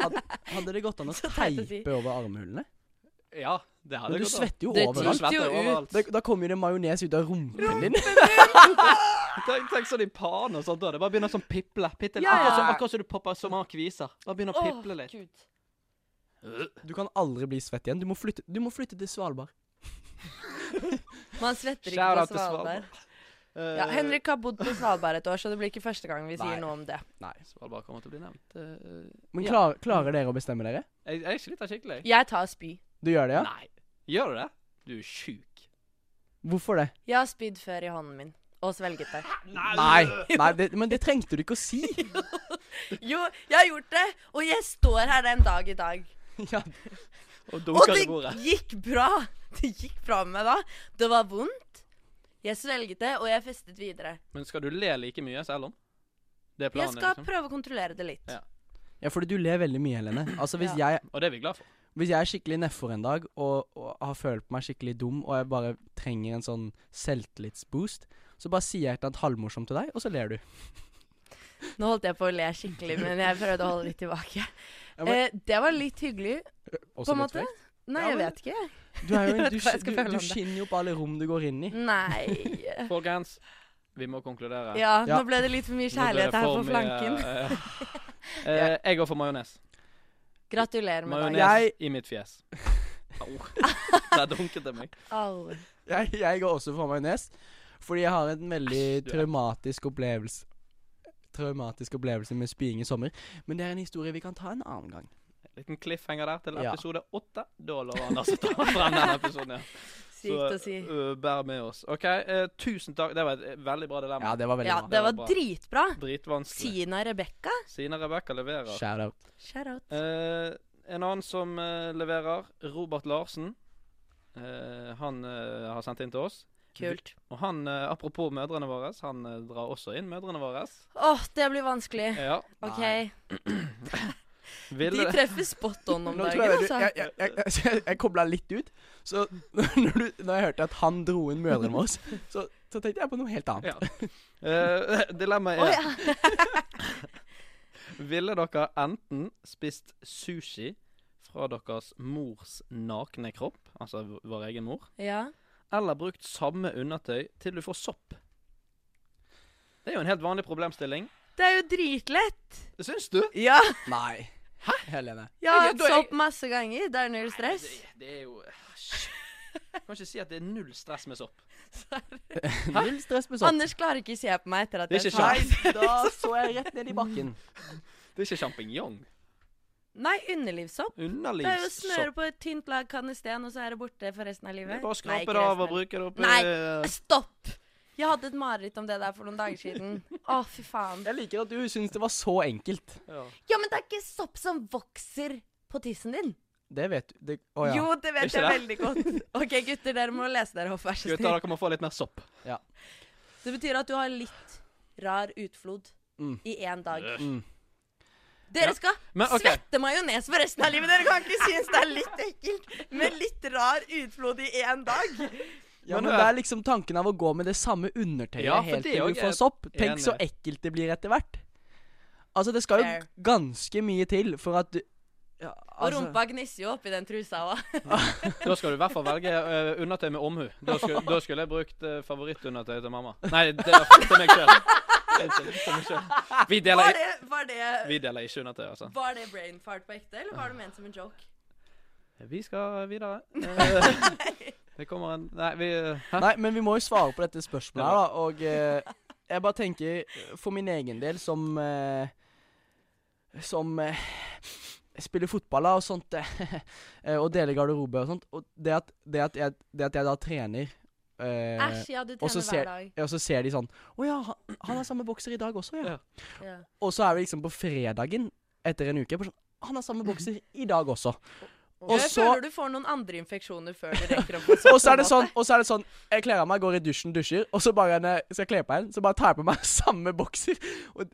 [SPEAKER 3] Hadde, hadde det gått an å
[SPEAKER 2] Så teit å si.
[SPEAKER 3] teipe over armhulene?
[SPEAKER 1] Ja, det hadde
[SPEAKER 3] Men du
[SPEAKER 1] gått an.
[SPEAKER 3] svetter jo
[SPEAKER 2] Det
[SPEAKER 1] Du
[SPEAKER 2] tyter
[SPEAKER 3] overalt.
[SPEAKER 1] svetter
[SPEAKER 2] jo ut.
[SPEAKER 1] overalt.
[SPEAKER 3] Da, da kommer jo det majones ut av rumpen din.
[SPEAKER 1] Tenk, tenk sånn i pan og sånt. da. Det bare begynner sånn piple. Pittel.
[SPEAKER 2] Ja, ja.
[SPEAKER 1] Akkurat som- Akkurat som du popper smakviser. Bare begynner å
[SPEAKER 2] Åh,
[SPEAKER 1] piple litt.
[SPEAKER 2] Gud.
[SPEAKER 3] Du kan aldri bli svett igjen. Du må flytte, du må flytte til Svalbard.
[SPEAKER 2] Man svetter ikke
[SPEAKER 1] Shout
[SPEAKER 2] på
[SPEAKER 1] out til
[SPEAKER 2] Svalbard.
[SPEAKER 1] Eh,
[SPEAKER 2] Ja, Henrik har bodd på Svalbard et år, så det blir ikke første gang vi
[SPEAKER 3] Nei.
[SPEAKER 2] sier noe om det.
[SPEAKER 3] Nei.
[SPEAKER 1] Svalbard kommer til å bli nevnt. Eh,
[SPEAKER 3] Men
[SPEAKER 1] Ja.
[SPEAKER 3] klar, klarer dere å bestemme dere?
[SPEAKER 1] jeg jeg sliter skikkelig.
[SPEAKER 2] Jeg tar spy.
[SPEAKER 3] Du gjør det, ja?
[SPEAKER 1] Nei. Gjør du det? Du er sjuk.
[SPEAKER 3] Hvorfor det?
[SPEAKER 2] Jeg har spydd før i hånden min. Og svelget det.
[SPEAKER 3] Nei, Nei det, men det trengte du ikke å si.
[SPEAKER 2] Jo, jeg har gjort det! Og jeg står her den dag i dag.
[SPEAKER 3] Ja,
[SPEAKER 1] Og
[SPEAKER 2] Og
[SPEAKER 1] dunker
[SPEAKER 2] det
[SPEAKER 1] i bordet.
[SPEAKER 2] gikk bra! Det gikk bra med meg da. Det var vondt. Jeg svelget det, og jeg festet videre.
[SPEAKER 1] Men skal du le like mye selv om? Det er
[SPEAKER 2] Jeg
[SPEAKER 1] planen,
[SPEAKER 2] skal
[SPEAKER 1] liksom.
[SPEAKER 2] prøve å kontrollere det litt.
[SPEAKER 1] Ja.
[SPEAKER 3] ja fordi du ler veldig mye, Helene. Altså, hvis, jeg,
[SPEAKER 1] Og det er vi glad for.
[SPEAKER 3] hvis jeg er skikkelig nedfor en dag og, og har følt meg skikkelig dum, og jeg bare trenger en sånn selvtillitsboost, så bare sier jeg et eller annet halvmorsomt til deg, og så ler du.
[SPEAKER 2] Nå holdt jeg på å le skikkelig, men jeg prøvde å holde litt tilbake.
[SPEAKER 3] Ja, men-
[SPEAKER 2] eh, det var litt hyggelig, på
[SPEAKER 3] Også
[SPEAKER 2] en
[SPEAKER 3] litt
[SPEAKER 2] måte.
[SPEAKER 3] frekt.
[SPEAKER 2] Nei,
[SPEAKER 3] Ja,
[SPEAKER 2] jeg
[SPEAKER 3] men-
[SPEAKER 2] vet ikke. jeg.
[SPEAKER 3] Du, er jo en, du,
[SPEAKER 2] Hva jeg skal
[SPEAKER 3] du,
[SPEAKER 2] føle om
[SPEAKER 3] du
[SPEAKER 2] det.
[SPEAKER 3] skinner jo på alle rom du går inn i.
[SPEAKER 2] Nei.
[SPEAKER 1] Folkens, vi må konkludere.
[SPEAKER 2] Ja, nå
[SPEAKER 3] Ja.
[SPEAKER 2] ble det litt for mye
[SPEAKER 1] Nå ble det
[SPEAKER 2] kjærlighet her
[SPEAKER 1] for
[SPEAKER 2] på
[SPEAKER 1] mye,
[SPEAKER 2] flanken.
[SPEAKER 1] eh, eh, jeg går for majones.
[SPEAKER 2] Gratulerer med
[SPEAKER 1] Majones
[SPEAKER 2] dagen.
[SPEAKER 3] Jeg-
[SPEAKER 1] i mitt fjes. Au. Der dunket det meg.
[SPEAKER 2] Au.
[SPEAKER 3] Jeg, jeg går også for majones, fordi jeg har en veldig
[SPEAKER 1] Æsj, du er-
[SPEAKER 3] traumatisk opplevelse Traumatisk opplevelse med spying i sommer. Men det er en historie vi kan ta en annen gang.
[SPEAKER 1] Liten cliffhanger der til
[SPEAKER 3] Ja.
[SPEAKER 1] episode åtte. Da altså lover Anders å ta frem denne episoden. Ja.
[SPEAKER 2] Sykt å si.
[SPEAKER 1] ø, bær med oss. OK, eh, tusen takk. Det var et eh, veldig bra dilemma.
[SPEAKER 3] Ja, det var veldig
[SPEAKER 2] Ja,
[SPEAKER 3] bra.
[SPEAKER 2] det
[SPEAKER 1] Det var
[SPEAKER 2] var
[SPEAKER 1] bra.
[SPEAKER 2] dritbra.
[SPEAKER 1] Dritvanskelig.
[SPEAKER 2] Sina Rebekka.
[SPEAKER 1] Sine Rebekka leverer.
[SPEAKER 3] Shout out.
[SPEAKER 2] Shout out.
[SPEAKER 1] Eh, en annen som eh, leverer, Robert Larsen. Eh, han eh, har sendt inn til oss.
[SPEAKER 2] Kult.
[SPEAKER 1] Og han, eh, apropos mødrene våre, han eh, drar også inn mødrene våre.
[SPEAKER 2] Åh, det blir vanskelig.
[SPEAKER 1] Ja.
[SPEAKER 2] OK. De
[SPEAKER 1] Ville
[SPEAKER 2] treffer spot on om
[SPEAKER 3] Nå
[SPEAKER 2] dagen,
[SPEAKER 3] tror jeg, du,
[SPEAKER 2] altså.
[SPEAKER 3] jeg, jeg, jeg, jeg, jeg kobla litt ut. Så når, du, når jeg hørte at han dro inn mødrene våre, så, så tenkte jeg på noe helt annet.
[SPEAKER 1] Ja. Eh, dilemmaet er
[SPEAKER 2] Å ja.
[SPEAKER 1] Ville dere enten spist sushi fra deres mors nakne kropp, altså v- vår egen mor,
[SPEAKER 2] ja.
[SPEAKER 1] eller brukt samme undertøy til du får sopp? Det er jo en helt vanlig problemstilling.
[SPEAKER 2] Det er jo dritlett.
[SPEAKER 1] Syns du?
[SPEAKER 2] Ja.
[SPEAKER 3] Nei. Hæ? Helene.
[SPEAKER 2] Jeg har
[SPEAKER 1] Jeg-
[SPEAKER 2] hatt
[SPEAKER 1] da- jeg-
[SPEAKER 2] sopp masse ganger. Det er null stress.
[SPEAKER 1] Nei, det, det er jo Jeg kan ikke si at det er null stress med sopp.
[SPEAKER 3] Null stress med sånt.
[SPEAKER 2] Anders klarer ikke å se på meg etter at
[SPEAKER 1] Det er
[SPEAKER 2] jeg
[SPEAKER 1] ikke sjans.
[SPEAKER 3] da så jeg rett ned i bakken.
[SPEAKER 1] Det er ikke sjampinjong.
[SPEAKER 2] Nei, underlivssopp. Det er jo å snøre
[SPEAKER 1] Underlivssopp.
[SPEAKER 2] på et tynt lag kannesten, og så er det borte for resten av
[SPEAKER 1] Det
[SPEAKER 2] livet.
[SPEAKER 1] er Bare å
[SPEAKER 2] Nei,
[SPEAKER 1] skrape
[SPEAKER 2] ikke
[SPEAKER 1] det av
[SPEAKER 2] resten
[SPEAKER 1] og bruke det oppi
[SPEAKER 2] Nei.
[SPEAKER 1] eh,
[SPEAKER 2] Stopp! Jeg hadde et mareritt om det der for noen dager siden. Å, fy faen.
[SPEAKER 3] Jeg liker at du syns det var så enkelt.
[SPEAKER 1] ja.
[SPEAKER 2] Ja, men det er ikke sopp som vokser på tissen din.
[SPEAKER 3] Det vet du. Det, å ja.
[SPEAKER 2] Jo, det
[SPEAKER 1] Er
[SPEAKER 2] vet
[SPEAKER 1] ikke
[SPEAKER 2] jeg veldig godt. OK, gutter, dere må lese dere opp, vær så
[SPEAKER 1] Gutter,
[SPEAKER 2] snill.
[SPEAKER 1] dere må få litt mer sopp.
[SPEAKER 2] Det betyr at du har litt rar utflod
[SPEAKER 3] Mm.
[SPEAKER 2] i én dag.
[SPEAKER 3] Mm.
[SPEAKER 1] Ja.
[SPEAKER 2] Dere skal
[SPEAKER 1] Men OK.
[SPEAKER 2] svette majones for resten av livet. Dere kan ikke synes det er litt ekkelt med litt rar utflod i én dag.
[SPEAKER 3] Ja,
[SPEAKER 1] Men
[SPEAKER 3] men
[SPEAKER 1] hør.
[SPEAKER 3] det er liksom tanken av å gå med det samme undertøyet
[SPEAKER 1] Ja, for
[SPEAKER 3] helt
[SPEAKER 1] det
[SPEAKER 3] til
[SPEAKER 1] òg
[SPEAKER 3] du
[SPEAKER 1] er
[SPEAKER 3] får sopp. Tenk så
[SPEAKER 1] enig.
[SPEAKER 3] ekkelt det blir etter hvert. Altså, det skal jo
[SPEAKER 2] Fair.
[SPEAKER 3] ganske mye til for at du ja,
[SPEAKER 2] Og
[SPEAKER 3] altså-
[SPEAKER 2] rumpa gnisser jo oppi den trusa òg.
[SPEAKER 1] Da skal du i hvert fall velge eh, undertøy med omhu. Da skulle, da skulle jeg brukt eh, favorittundertøy til mamma. Nei, det er til meg sjøl. Vi, deler
[SPEAKER 2] Var
[SPEAKER 1] i-
[SPEAKER 2] det, var, det,
[SPEAKER 1] vi deler ikke undertøy, altså.
[SPEAKER 2] var det brain fart på ekte, eller var det ment som en joke?
[SPEAKER 1] Vi skal videre. Eh, Det kommer en Nei, vi eh, Hæ?
[SPEAKER 3] Nei, men vi må jo svare på dette spørsmålet her, da. Og eh, jeg bare tenker, eh, for min egen del, som eh, Som eh, spiller fotball da, og sånt, eh, eh, og deler garderobe og sånt, og det at, det at, jeg, det at jeg da trener eh, eh,
[SPEAKER 2] Æsj, ja, du
[SPEAKER 3] og så
[SPEAKER 2] trener
[SPEAKER 3] ser-
[SPEAKER 2] hver dag.
[SPEAKER 3] ja, og så ser de sånn Å ja, han, han har samme bokser i dag også, ja.
[SPEAKER 1] Ja.
[SPEAKER 2] Ja.
[SPEAKER 3] Og så er vi liksom på fredagen etter en uke bare sånn Han har samme bokser i dag også. Og
[SPEAKER 2] jeg
[SPEAKER 3] så,
[SPEAKER 2] føler du får noen andre infeksjoner før du rekker opp. på
[SPEAKER 3] og så er
[SPEAKER 2] måte.
[SPEAKER 3] det sånn, og så er det sånn Jeg kler av meg, går i dusjen, dusjer, og så bare når jeg skal kle på igjen, så bare tar jeg på meg samme bokser og,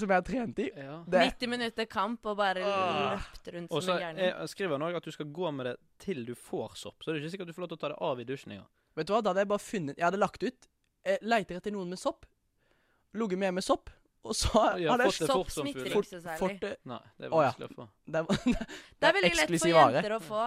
[SPEAKER 3] som jeg har trent i.
[SPEAKER 1] Ja.
[SPEAKER 3] Det,
[SPEAKER 2] 90 minutter kamp og bare
[SPEAKER 1] Åh.
[SPEAKER 2] løpt rundt
[SPEAKER 1] Og
[SPEAKER 2] som
[SPEAKER 1] så
[SPEAKER 2] en gærning.
[SPEAKER 1] eh, skriver han òg at du skal gå med det til du får sopp. Så det er ikke sikkert du får lov til å ta det av i dusjen engang.
[SPEAKER 3] vet du hva, da hadde jeg bare funnet Jeg hadde lagt ut eh, Leiter etter noen med sopp. Ligget med med sopp. Og så
[SPEAKER 1] Ja,
[SPEAKER 3] hadde
[SPEAKER 1] fått det
[SPEAKER 3] jeg
[SPEAKER 2] Sopp
[SPEAKER 1] fort som
[SPEAKER 2] smitter
[SPEAKER 1] fugler.
[SPEAKER 2] ikke
[SPEAKER 3] fort,
[SPEAKER 2] så særlig.
[SPEAKER 3] fort eh,
[SPEAKER 1] Nei, det er
[SPEAKER 3] Å, ja.
[SPEAKER 1] vanskelig å få.
[SPEAKER 3] det, er-
[SPEAKER 2] Det
[SPEAKER 3] det
[SPEAKER 2] er
[SPEAKER 3] er
[SPEAKER 2] veldig lett for
[SPEAKER 3] eksklusiv vare.
[SPEAKER 2] jenter å få.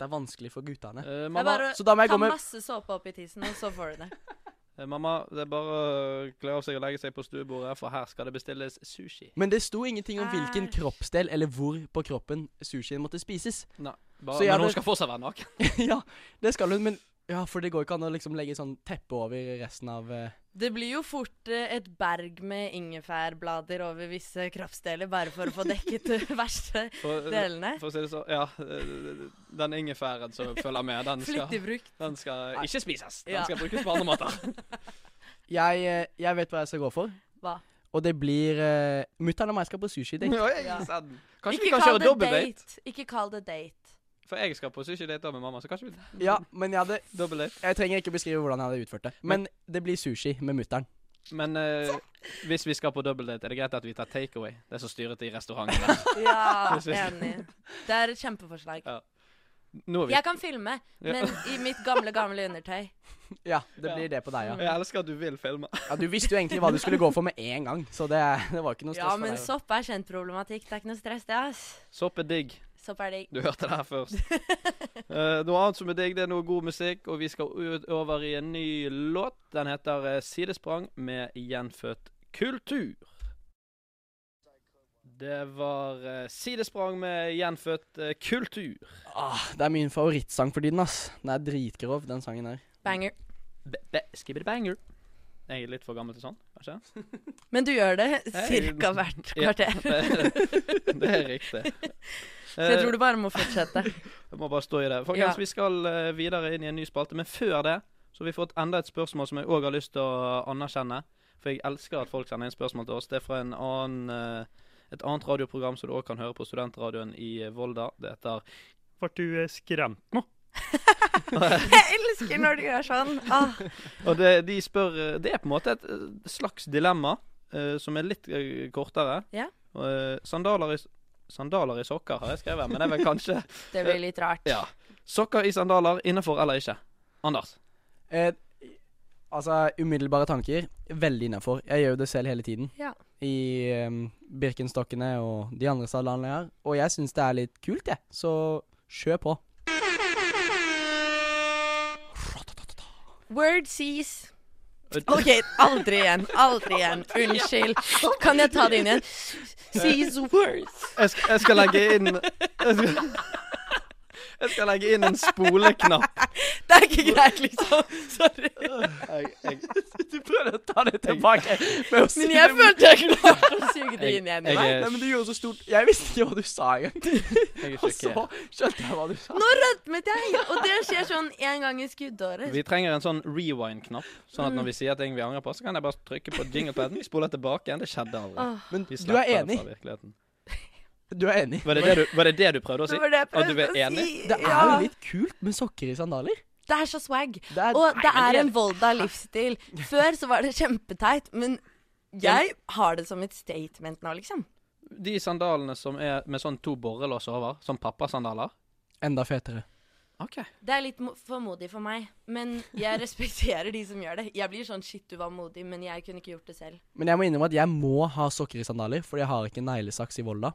[SPEAKER 3] Det er vanskelig for guttene.
[SPEAKER 1] Eh,
[SPEAKER 2] Det er
[SPEAKER 1] mamma,
[SPEAKER 2] bare
[SPEAKER 3] Så da
[SPEAKER 2] å
[SPEAKER 3] må jeg
[SPEAKER 2] ta
[SPEAKER 3] gå med
[SPEAKER 2] masse såpe opp i tissen, og så får du det.
[SPEAKER 1] eh, mamma, det er bare å kle av seg og legge seg på stuebordet, for her skal det bestilles sushi.
[SPEAKER 3] Men det sto ingenting om hvilken
[SPEAKER 2] Æsj.
[SPEAKER 3] kroppsdel eller hvor på kroppen sushien måtte spises.
[SPEAKER 1] Nei, bare,
[SPEAKER 3] Så jeg
[SPEAKER 1] men hun
[SPEAKER 3] hadde-
[SPEAKER 1] skal fortsatt være naken.
[SPEAKER 3] ja, det skal hun, men Ja, for det går ikke an å liksom legge sånn teppe over resten av eh,
[SPEAKER 2] Det blir jo fort eh, et berg med ingefærblader over visse kroppsdeler, bare for å få dekket de verste
[SPEAKER 1] For,
[SPEAKER 2] delene.
[SPEAKER 1] for å si det sånn, ja. eh, Den ingefæren som følger med, den
[SPEAKER 2] Flittig
[SPEAKER 1] skal,
[SPEAKER 2] brukt.
[SPEAKER 1] den skal ikke spises. Den
[SPEAKER 2] Ja.
[SPEAKER 1] skal brukes på andre måter.
[SPEAKER 3] jeg, eh, jeg vet hva jeg skal gå for.
[SPEAKER 2] Hva?
[SPEAKER 3] Og det blir uh, Mutter'n og meg skal på sushi-date.
[SPEAKER 1] Oi,
[SPEAKER 2] Ja.
[SPEAKER 1] sann. Kanskje vi
[SPEAKER 2] Ikke
[SPEAKER 1] kan
[SPEAKER 2] kall
[SPEAKER 1] kjøre
[SPEAKER 2] det
[SPEAKER 1] dobbeldate?
[SPEAKER 2] date. Ikke kall det date.
[SPEAKER 1] For jeg skal på sushi-date da med mamma, så kanskje vi
[SPEAKER 3] Ja, men jeg, hadde,
[SPEAKER 1] dobbeldate.
[SPEAKER 3] jeg trenger ikke beskrive hvordan jeg hadde utført det. Men det blir sushi med mutter'n.
[SPEAKER 1] Men eh, hvis vi skal på dobbeldate, er det greit at vi tar takeaway? Det er så styrete i restaurantene.
[SPEAKER 2] Ja,
[SPEAKER 1] Jeg synes-
[SPEAKER 2] enig. Det er et kjempeforslag.
[SPEAKER 1] Ja. Nå er vi
[SPEAKER 2] Jeg kan filme,
[SPEAKER 1] Ja.
[SPEAKER 2] men i mitt gamle, gamle undertøy.
[SPEAKER 3] Ja, det
[SPEAKER 1] Ja.
[SPEAKER 3] blir det på deg, ja.
[SPEAKER 1] Jeg elsker at du vil filme.
[SPEAKER 3] ja. Du visste jo egentlig hva du skulle gå for med en gang, så det, det var ikke noe stress
[SPEAKER 2] Ja, men
[SPEAKER 3] for deg.
[SPEAKER 2] sopp er kjent problematikk. Det er ikke noe stress, det, ass.
[SPEAKER 1] Sopp er digg.
[SPEAKER 2] Sopp er digg.
[SPEAKER 1] Du hørte det her først. Eh, noe annet som er digg, det er noe god musikk, og vi skal ut- over i en ny låt. Den heter eh, 'Sidesprang' med Gjenfødt kultur. Det var eh, 'Sidesprang' med Gjenfødt eh, kultur.
[SPEAKER 3] Ah, det er min favorittsang for tiden, ass. Den er dritgrov, den sangen her.
[SPEAKER 2] Banger.
[SPEAKER 1] Be- be- Skibbidi banger. Jeg er litt for gammel til sånn, kanskje?
[SPEAKER 2] Men du gjør det
[SPEAKER 1] Hei.
[SPEAKER 2] ca. hvert
[SPEAKER 1] Ja,
[SPEAKER 2] kvarter.
[SPEAKER 1] det, det er riktig. Eh,
[SPEAKER 2] Så jeg tror du bare må fortsette.
[SPEAKER 1] Jeg må bare stå i det. Folkens,
[SPEAKER 2] Ja.
[SPEAKER 1] vi skal eh, videre inn i en ny spalte, men før det så har vi fått enda et spørsmål som jeg òg har lyst til å anerkjenne. For jeg elsker at folk sender inn spørsmål til oss. Det er fra en annen, eh, et annet radioprogram som du òg kan høre på studentradioen i eh, Volda. Det heter Ble du eh, skremt nå?
[SPEAKER 2] Jeg elsker når du gjør sånn. Åh.
[SPEAKER 1] Og det, de spør eh, Det er på en måte et eh, slags dilemma eh, som er litt eh, kortere.
[SPEAKER 2] Ja.
[SPEAKER 1] Eh, sandaler, i, sandaler i sokker har jeg skrevet, men det er vel kanskje
[SPEAKER 2] Det blir litt rart.
[SPEAKER 1] Ja. Sokker i sandaler innenfor eller ikke? Anders?
[SPEAKER 3] Eh, altså, umiddelbare tanker. Veldig innafor. Jeg gjør jo det selv hele tiden.
[SPEAKER 2] Ja.
[SPEAKER 3] I em, Birkenstokkene og de andre sandalene jeg har. Og jeg syns det er litt kult, jeg. Så kjør på.
[SPEAKER 2] Word sees. OK, aldri igjen. Aldri igjen. Unnskyld. Kan jeg ta det inn igjen? Sees words.
[SPEAKER 1] Jeg skal, jeg skal legge inn jeg skal, jeg skal legge inn en spoleknapp.
[SPEAKER 2] Det er ikke greit, liksom. Sorry.
[SPEAKER 1] Jeg, jeg,
[SPEAKER 3] Du prøvde å ta det tilbake med å si
[SPEAKER 2] Men jeg følte jeg klarte å suge det inn igjen. i
[SPEAKER 1] jeg
[SPEAKER 2] meg.
[SPEAKER 1] er,
[SPEAKER 3] Nei, men du gjorde så stort Jeg visste ikke hva du sa engang.
[SPEAKER 1] jeg er
[SPEAKER 3] Og så
[SPEAKER 1] sjokkert.
[SPEAKER 3] skjønte jeg hva du sa.
[SPEAKER 2] Nå rødmet jeg, og det skjer sånn én gang i skuddåret.
[SPEAKER 1] Vi trenger en sånn rewind-knapp, sånn at når vi sier ting vi angrer på, så kan jeg bare trykke på jinglepaden, spole tilbake igjen. Det skjedde aldri.
[SPEAKER 2] Åh,
[SPEAKER 3] Men
[SPEAKER 1] Vi
[SPEAKER 3] du
[SPEAKER 1] slipper
[SPEAKER 3] er
[SPEAKER 1] det
[SPEAKER 3] enig.
[SPEAKER 1] fra virkeligheten.
[SPEAKER 3] Du er enig.
[SPEAKER 1] Var det det du, var det, det du prøvde å
[SPEAKER 2] det
[SPEAKER 1] si?
[SPEAKER 2] var det jeg
[SPEAKER 1] At du er
[SPEAKER 2] prøvde å
[SPEAKER 1] enig?
[SPEAKER 2] si.
[SPEAKER 3] Det er
[SPEAKER 2] Ja.
[SPEAKER 3] jo litt kult med sokker i sandaler.
[SPEAKER 2] Det er så swag.
[SPEAKER 3] Det er,
[SPEAKER 2] Og det
[SPEAKER 1] men
[SPEAKER 2] er
[SPEAKER 1] det-
[SPEAKER 2] en Volda-livsstil. Før så var det kjempeteit, men jeg har det som et statement nå, liksom.
[SPEAKER 1] De sandalene som er med sånn to borrelås over, som pappasandaler
[SPEAKER 3] enda fetere.
[SPEAKER 1] OK.
[SPEAKER 2] Det er litt mo- for modig for meg, men jeg respekterer de som gjør det. Jeg blir sånn shit, du var modig, men jeg kunne ikke gjort det selv.
[SPEAKER 3] Men jeg må innrømme at jeg må ha sokker i sandaler, fordi jeg har ikke neglesaks i Volda.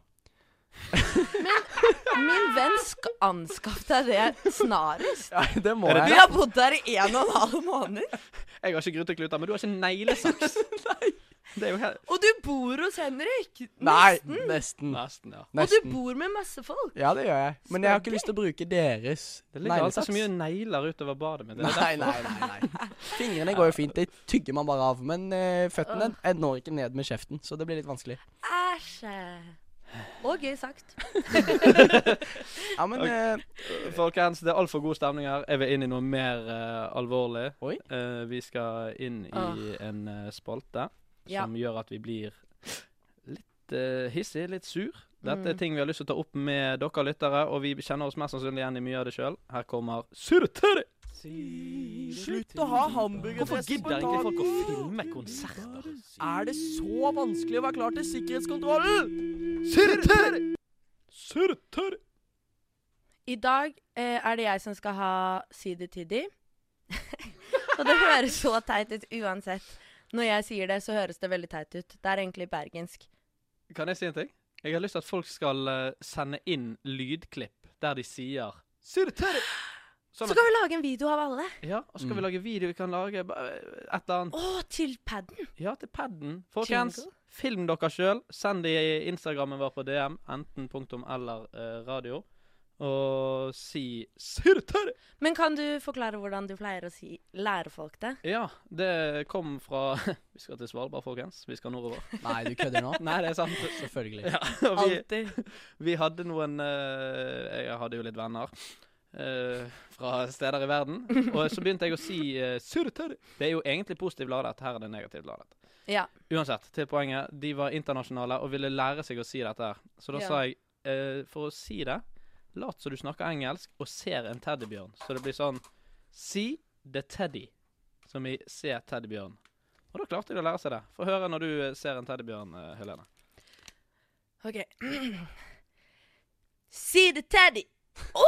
[SPEAKER 2] Min venn skal anskaffe deg det snarest.
[SPEAKER 3] Ja, det må
[SPEAKER 1] Er det
[SPEAKER 2] Vi
[SPEAKER 3] jeg.
[SPEAKER 2] har bodd der i en og en halv måned,
[SPEAKER 1] Jeg har ikke grutekluter, men du har ikke neglesaks. Det er jo helt
[SPEAKER 2] og du bor hos Henrik.
[SPEAKER 3] Nei,
[SPEAKER 2] Nesten.
[SPEAKER 3] nesten.
[SPEAKER 1] Nesten, ja.
[SPEAKER 2] Og du
[SPEAKER 3] Nesten.
[SPEAKER 2] bor med masse folk.
[SPEAKER 3] Ja, det gjør jeg. Men jeg har ikke lyst til å bruke deres
[SPEAKER 1] Det ligger alltid
[SPEAKER 3] neglesaks.
[SPEAKER 1] så mye negler utover badet mitt. Det er
[SPEAKER 3] Nei, nei, nei. nei. Fingrene går jo fint, det tygger man eh, bare av. Men eh, føttene jeg når ikke ned med kjeften, så det blir litt vanskelig.
[SPEAKER 2] Æsj. Og gøy sagt.
[SPEAKER 3] Ja, men eh,
[SPEAKER 1] Folkens, det er altfor god stemning her. Jeg vil inn i noe mer eh, alvorlig.
[SPEAKER 3] Oi.
[SPEAKER 1] Eh, vi skal inn i
[SPEAKER 2] Åh.
[SPEAKER 1] en eh, spalte
[SPEAKER 2] Ja.
[SPEAKER 1] som gjør at vi blir litt eh, hissig, litt sur. Dette er
[SPEAKER 2] Mm.
[SPEAKER 1] ting vi har lyst til å ta opp med dere lyttere, og vi kjenner oss mest sannsynlig igjen i mye av det sjøl. Her kommer Surtøri!
[SPEAKER 3] Slutt å ha hamburgerdress
[SPEAKER 1] Hvorfor gidder
[SPEAKER 3] på
[SPEAKER 1] ikke folk å
[SPEAKER 3] dagen?
[SPEAKER 1] filme konserter?
[SPEAKER 3] Er det så vanskelig å være klar til sikkerhetskontrollen?
[SPEAKER 1] Surtøri! Surtøri!
[SPEAKER 2] I dag eh, er det jeg som skal ha Si det til de. Og det høres så teit ut uansett. Når jeg sier det, så høres det veldig teit ut. Det er egentlig bergensk.
[SPEAKER 1] Kan jeg si en ting? Jeg har lyst til at folk skal eh, sende inn lydklipp der de sier Surtøri!
[SPEAKER 2] Så kan vi lage en video av alle.
[SPEAKER 1] Ja, og så skal
[SPEAKER 3] Mm.
[SPEAKER 1] vi lage video vi kan lage bare et eller annet.
[SPEAKER 2] Å, til paden!
[SPEAKER 1] Ja, til paden. Folkens,
[SPEAKER 2] Jingle.
[SPEAKER 1] film dere sjøl. Send det i Instagrammen vår på DM, enten punktum eller eh, radio. Og si 'surtørr'!
[SPEAKER 2] Men kan du forklare hvordan du pleier å si lære folk det?
[SPEAKER 1] Ja, det kom fra Vi skal til Svalbard, folkens. Vi skal nordover.
[SPEAKER 3] Nei, du kødder nå?
[SPEAKER 1] Nei, det er sant.
[SPEAKER 3] Selvfølgelig.
[SPEAKER 1] Ja, og vi,
[SPEAKER 2] Alltid.
[SPEAKER 1] vi hadde noen eh, Jeg hadde jo litt venner. eh, fra steder i verden. Og så begynte jeg å si uh, 'surtørr'. Det er jo egentlig positivt ladet. Her er det negativt ladet.
[SPEAKER 2] Ja.
[SPEAKER 1] Uansett, til poenget. De var internasjonale og ville lære seg å si dette her. Så da
[SPEAKER 2] Ja.
[SPEAKER 1] sa jeg, eh, for å si det, lat som du snakker engelsk og ser en teddybjørn. Så det blir sånn See the teddy, som i se teddybjørn. Og da klarte de å lære seg det. Få høre når du eh, ser en teddybjørn, eh, Helene.
[SPEAKER 2] OK. si det, Teddy! Å!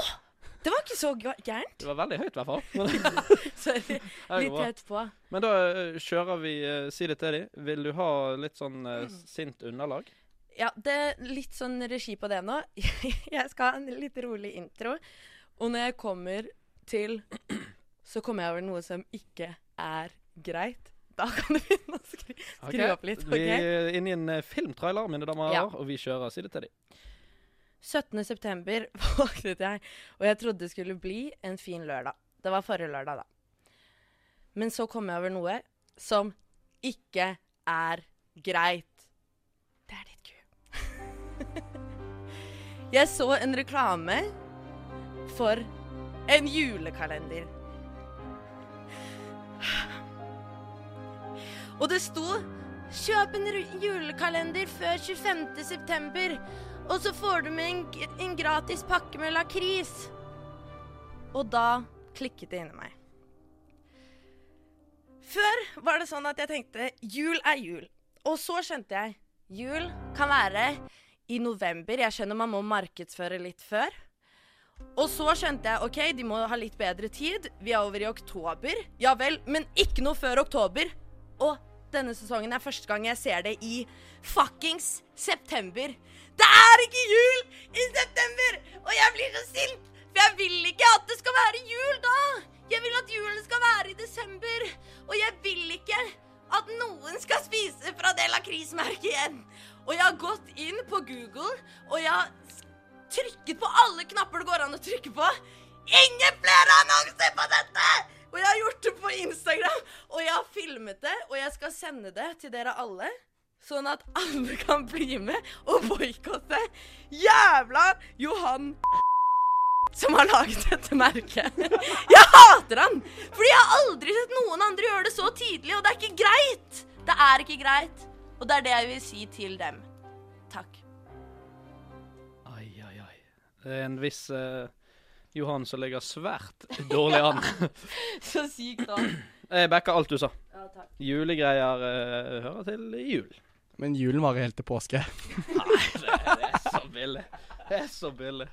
[SPEAKER 2] det var ikke så gæ- gærent.
[SPEAKER 1] Det var veldig høyt, i hvert fall.
[SPEAKER 2] Sorry.
[SPEAKER 1] Men det går
[SPEAKER 2] Litt
[SPEAKER 1] bra.
[SPEAKER 2] høyt på.
[SPEAKER 1] Men da eh, kjører vi eh, See the teddy. Vil du ha litt sånn eh,
[SPEAKER 2] Mm.
[SPEAKER 1] sint underlag?
[SPEAKER 2] Ja, det er litt sånn regi på det nå. Jeg skal ha en litt rolig intro. Og når jeg kommer til Så kommer jeg over noe som ikke er greit. Da kan du begynne å skru, skru
[SPEAKER 1] Ok.
[SPEAKER 2] opp litt.
[SPEAKER 1] Vi
[SPEAKER 2] ok?
[SPEAKER 1] er inne i en eh, filmtrailer, mine damer og
[SPEAKER 2] Ja.
[SPEAKER 1] herrer, og vi kjører See the teddy.
[SPEAKER 2] 17. september våknet jeg, og jeg trodde det skulle bli en fin lørdag. Det var forrige lørdag, da. Men så kom jeg over noe som ikke er greit. Det er ditt ku. jeg så en reklame for en julekalender. Og det sto 'Kjøp en ru- julekalender før 25. september'. Og så får du med en, g- en gratis pakke med lakris. Og da klikket det inni meg. Før var det sånn at jeg tenkte jul er jul. Og så skjønte jeg jul kan være i november. Jeg skjønner man må markedsføre litt før. Og så skjønte jeg ok, de må ha litt bedre tid. Vi er over i oktober. Ja vel, men ikke noe før oktober. Og denne sesongen er første gang jeg ser det i fuckings september. Det er ikke jul i september! Og jeg blir så sint! For jeg vil ikke at det skal være jul da! Jeg vil at julen skal være i desember! Og jeg vil ikke at noen skal spise fra det lakrismerket igjen! Og jeg har gått inn på Google, og jeg har s- trykket på alle knapper det går an å trykke på. Ingen flere annonser på dette! Og jeg har gjort det på Instagram, og jeg har filmet det, og jeg skal sende det til dere alle. Sånn at alle kan bli med og boikotte jævla Johan som har laget dette merket. Jeg hater han! Fordi jeg har aldri sett noen andre gjøre det så tidlig, og det er ikke greit! Det er ikke greit, og det er det jeg vil si til dem. Takk.
[SPEAKER 1] Ai, ai, ai. Det er en viss eh, Johan som ligger svært dårlig an.
[SPEAKER 2] Så sykt, da.
[SPEAKER 1] Jeg backer alt du sa.
[SPEAKER 2] Ja, takk.
[SPEAKER 1] Julegreier eh, hører til i jul.
[SPEAKER 3] Men julen varer helt til påske.
[SPEAKER 1] Det er så billig. Det er så billig.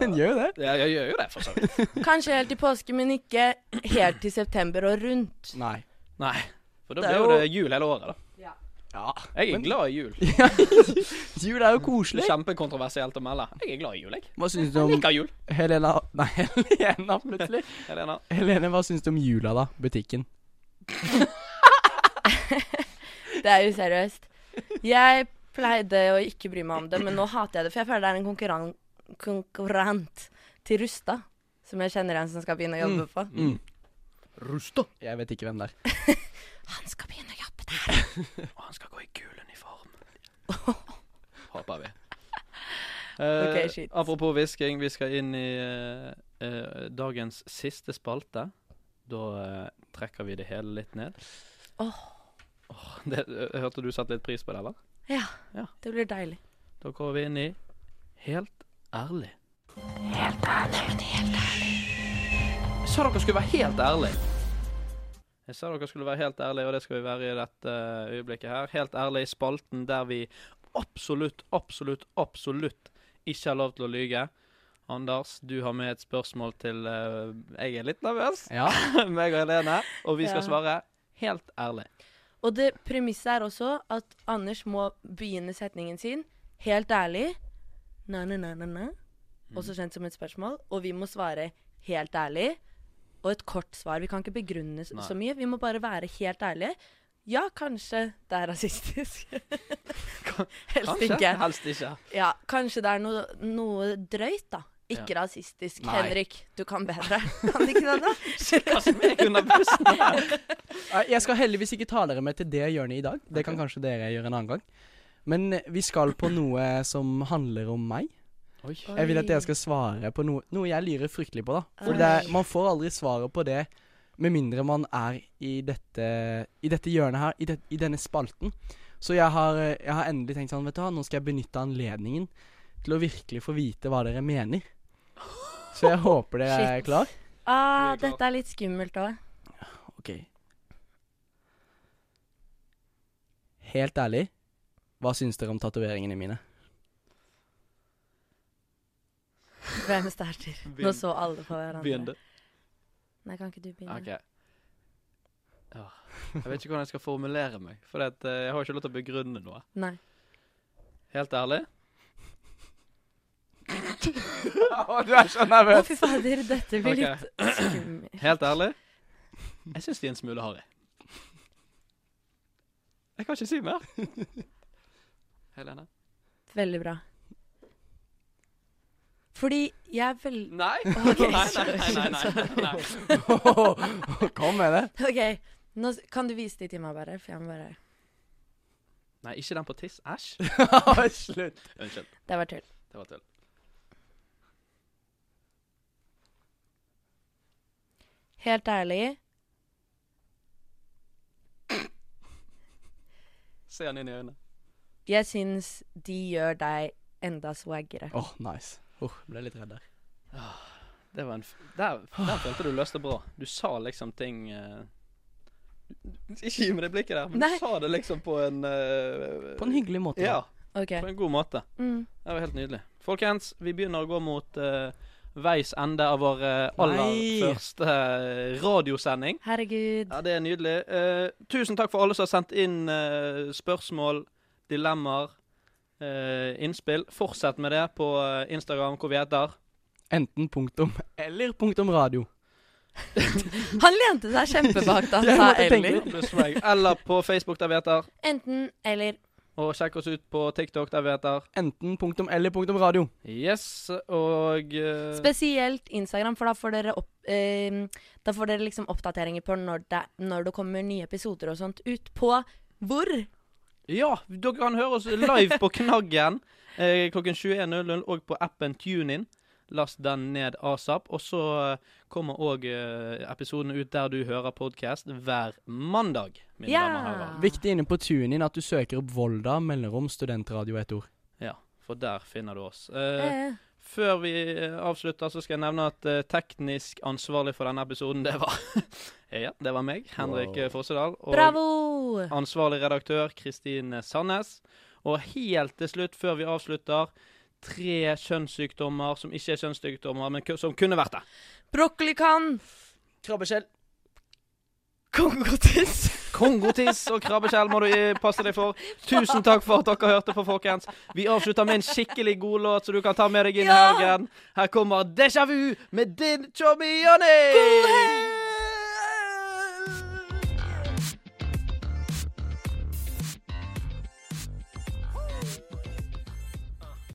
[SPEAKER 3] Den gjør jo det.
[SPEAKER 1] Ja, jeg gjør jo det, for så vidt.
[SPEAKER 2] Kanskje helt til påske, men ikke helt til september og rundt.
[SPEAKER 3] Nei.
[SPEAKER 1] Nei. For da
[SPEAKER 3] Det er
[SPEAKER 1] blir jo
[SPEAKER 3] jo-
[SPEAKER 1] det jul hele året, da.
[SPEAKER 3] Ja.
[SPEAKER 1] Jeg er
[SPEAKER 3] Men-
[SPEAKER 1] glad i jul.
[SPEAKER 3] Jul er jo koselig.
[SPEAKER 1] Kjempekontroversielt å melde. Jeg er glad i jul, jeg.
[SPEAKER 3] Hva syns du om
[SPEAKER 1] Liker jul.
[SPEAKER 3] Helena Nei, Helena plutselig.
[SPEAKER 1] Helena.
[SPEAKER 3] Helene, hva syns du om jula, da? Butikken.
[SPEAKER 2] Det er useriøst. Jeg pleide å ikke bry meg om det, men nå hater jeg det, for jeg føler det er en konkurran konkurrent til Rusta, som jeg kjenner en som skal begynne å jobbe på.
[SPEAKER 1] Rusta.
[SPEAKER 3] Jeg vet ikke hvem det er.
[SPEAKER 2] Han skal begynne å jobbe der.
[SPEAKER 1] Og han skal gå i gul uniform. Håper vi. Eh,
[SPEAKER 2] Ok, shit.
[SPEAKER 1] apropos hvisking, vi skal inn i eh, eh, dagens siste spalte. Da eh, trekker vi det hele litt ned.
[SPEAKER 2] Åh.
[SPEAKER 1] Åh, det, jeg hørte du satte litt pris på det, eller?
[SPEAKER 2] Ja.
[SPEAKER 1] Ja.
[SPEAKER 2] Det blir deilig.
[SPEAKER 1] Da går vi inn i Helt ærlig. Jeg sa dere skulle være helt ærlig. Jeg sa dere skulle være helt ærlig, og det skal vi være i dette eh, øyeblikket her. Helt ærlig i spalten der vi absolutt, absolutt, absolutt ikke har lov til å lyge. Anders, du har med et spørsmål til eh, Jeg er litt nervøs,
[SPEAKER 3] Ja.
[SPEAKER 1] meg og Helene, og vi skal
[SPEAKER 2] Ja.
[SPEAKER 1] svare helt ærlig.
[SPEAKER 2] Og det premisset er også at Anders må begynne setningen sin helt ærlig. Na, na, na, na, na. Også kjent som et spørsmål. Og vi må svare helt ærlig. Og et kort svar. Vi kan ikke begrunne s-
[SPEAKER 1] Nei.
[SPEAKER 2] så mye. Vi må bare være helt ærlige. Ja, kanskje det er rasistisk. Helst ikke.
[SPEAKER 1] Helst ikke.
[SPEAKER 2] Ja, kanskje det er noe, noe drøyt, da. Ikke rasistisk.
[SPEAKER 3] Nei.
[SPEAKER 2] Henrik, du kan bedre. Kan du ikke det, da?
[SPEAKER 1] Kast meg under bussen her.
[SPEAKER 3] Nei, Eh, Jeg skal heldigvis ikke ta dere med til det hjørnet i dag. Det kan kanskje dere gjøre en annen gang. Men eh, vi skal på noe som handler om meg.
[SPEAKER 1] Oi.
[SPEAKER 3] Jeg vil at dere skal svare på noe, noe jeg lurer fryktelig på, da. For
[SPEAKER 2] Oi.
[SPEAKER 3] det er, man får aldri svaret på det med mindre man er i dette, i dette hjørnet her, i, det, i denne spalten. Så jeg har, eh, jeg har endelig tenkt sånn, vet du hva, nå skal jeg benytte anledningen til å virkelig få vite hva dere mener. Så jeg håper dere er
[SPEAKER 2] Shit.
[SPEAKER 3] klar.
[SPEAKER 1] Vi
[SPEAKER 2] Ah,
[SPEAKER 1] er klar.
[SPEAKER 2] dette er litt skummelt òg.
[SPEAKER 3] Ok. Helt ærlig, hva syns dere om tatoveringene mine?
[SPEAKER 2] Hvem starter? Nå
[SPEAKER 1] Begynn.
[SPEAKER 2] så alle på hverandre.
[SPEAKER 1] Begynn, du.
[SPEAKER 2] Nei, kan ikke du begynne?
[SPEAKER 1] Ok. Ja. Jeg vet ikke hvordan jeg skal formulere meg, for det at, eh, jeg har ikke lov til å begrunne noe.
[SPEAKER 2] Nei.
[SPEAKER 1] Helt ærlig?
[SPEAKER 3] du er så
[SPEAKER 2] Å,
[SPEAKER 3] nervøs.
[SPEAKER 2] fy fader, dette
[SPEAKER 1] Ok.
[SPEAKER 2] blir litt skummelt.
[SPEAKER 1] Helt ærlig? Jeg syns de er en smule harry. Jeg kan ikke si mer. Helene?
[SPEAKER 2] Veldig bra. Fordi jeg er veldig
[SPEAKER 1] Nei.
[SPEAKER 2] Ok,
[SPEAKER 1] nei,
[SPEAKER 2] sorry,
[SPEAKER 1] nei, nei, nei, nei.
[SPEAKER 3] Kom med det.
[SPEAKER 2] OK, nå s- kan du vise de til meg, bare? For jeg må bare
[SPEAKER 1] Nei, ikke den på tiss. Æsj.
[SPEAKER 3] Slutt.
[SPEAKER 1] Unnskyld.
[SPEAKER 2] Det var tull.
[SPEAKER 1] Det var tull.
[SPEAKER 2] Helt ærlig,
[SPEAKER 1] Se han inn i øynene.
[SPEAKER 2] jeg syns de gjør deg enda swaggere.
[SPEAKER 3] Åh, nice. Åh, ble litt redd der.
[SPEAKER 1] Det var en f der, der følte du løste bra. Du sa liksom ting eh, Ikke gi meg det blikket der, men
[SPEAKER 2] Nei.
[SPEAKER 1] du sa det liksom på en eh,
[SPEAKER 3] På en hyggelig måte. da.
[SPEAKER 1] Ja,
[SPEAKER 2] OK.
[SPEAKER 1] på en god måte.
[SPEAKER 2] Mm.
[SPEAKER 1] Det var helt nydelig. Folkens, vi begynner å gå mot eh, veis ende av vår eh, aller
[SPEAKER 3] Nei.
[SPEAKER 1] første eh, radiosending.
[SPEAKER 2] Herregud.
[SPEAKER 1] Ja, det er nydelig. Eh, tusen takk for alle som har sendt inn eh, spørsmål, dilemmaer, eh, innspill. Fortsett med det på eh, Instagram, hvor vi heter.
[SPEAKER 3] Enten punktum eller punktum radio.
[SPEAKER 2] Han lente seg kjempebak da
[SPEAKER 3] Jeg
[SPEAKER 2] han sa
[SPEAKER 3] måtte tenke
[SPEAKER 2] eller.
[SPEAKER 3] litt.
[SPEAKER 1] Eller på Facebook, der vi heter.
[SPEAKER 2] Enten eller.
[SPEAKER 1] Og sjekk oss ut på TikTok, der vi heter.
[SPEAKER 3] Enten punktum eller punktum radio.
[SPEAKER 1] Yes, og eh,
[SPEAKER 2] Spesielt Instagram, for da får dere, opp, eh, da får dere liksom oppdateringer på når det, når det kommer nye episoder og sånt ut på hvor.
[SPEAKER 1] Ja, dere kan høre oss live på Knaggen eh, klokken 21.00 og på appen TuneIn. Last den ned asap. Og så eh, kommer òg eh, episoden ut der du hører podkast hver mandag. Mine
[SPEAKER 2] Ja.
[SPEAKER 1] damer og herrer.
[SPEAKER 3] Viktig inne på tunen at du søker opp Volda mellomrom studentradio ett ord.
[SPEAKER 1] Ja, for der finner du oss. Eh,
[SPEAKER 2] Eh,
[SPEAKER 1] før vi eh, avslutter, så skal jeg nevne at eh, teknisk ansvarlig for denne episoden, det var Ja, det var meg, Henrik
[SPEAKER 3] Wow.
[SPEAKER 1] wow. Fossedal. Og
[SPEAKER 2] bravo!
[SPEAKER 1] Ansvarlig redaktør Kristine Sandnes. Og helt til slutt, før vi avslutter, tre kjønnssykdommer som ikke er kjønnssykdommer, men ku- som kunne vært det.
[SPEAKER 2] Broccolikan,
[SPEAKER 3] Krabbeskjell.
[SPEAKER 2] kongotiss.
[SPEAKER 1] Kongotiss og krabbeskjell må du i- passe deg for. Tusen takk for at dere hørte på, folkens. Vi avslutter med en skikkelig god låt, så du kan ta med deg inn i
[SPEAKER 2] Ja!
[SPEAKER 1] helgen. Her kommer Déjà Vu med Din Chomioni. God helg!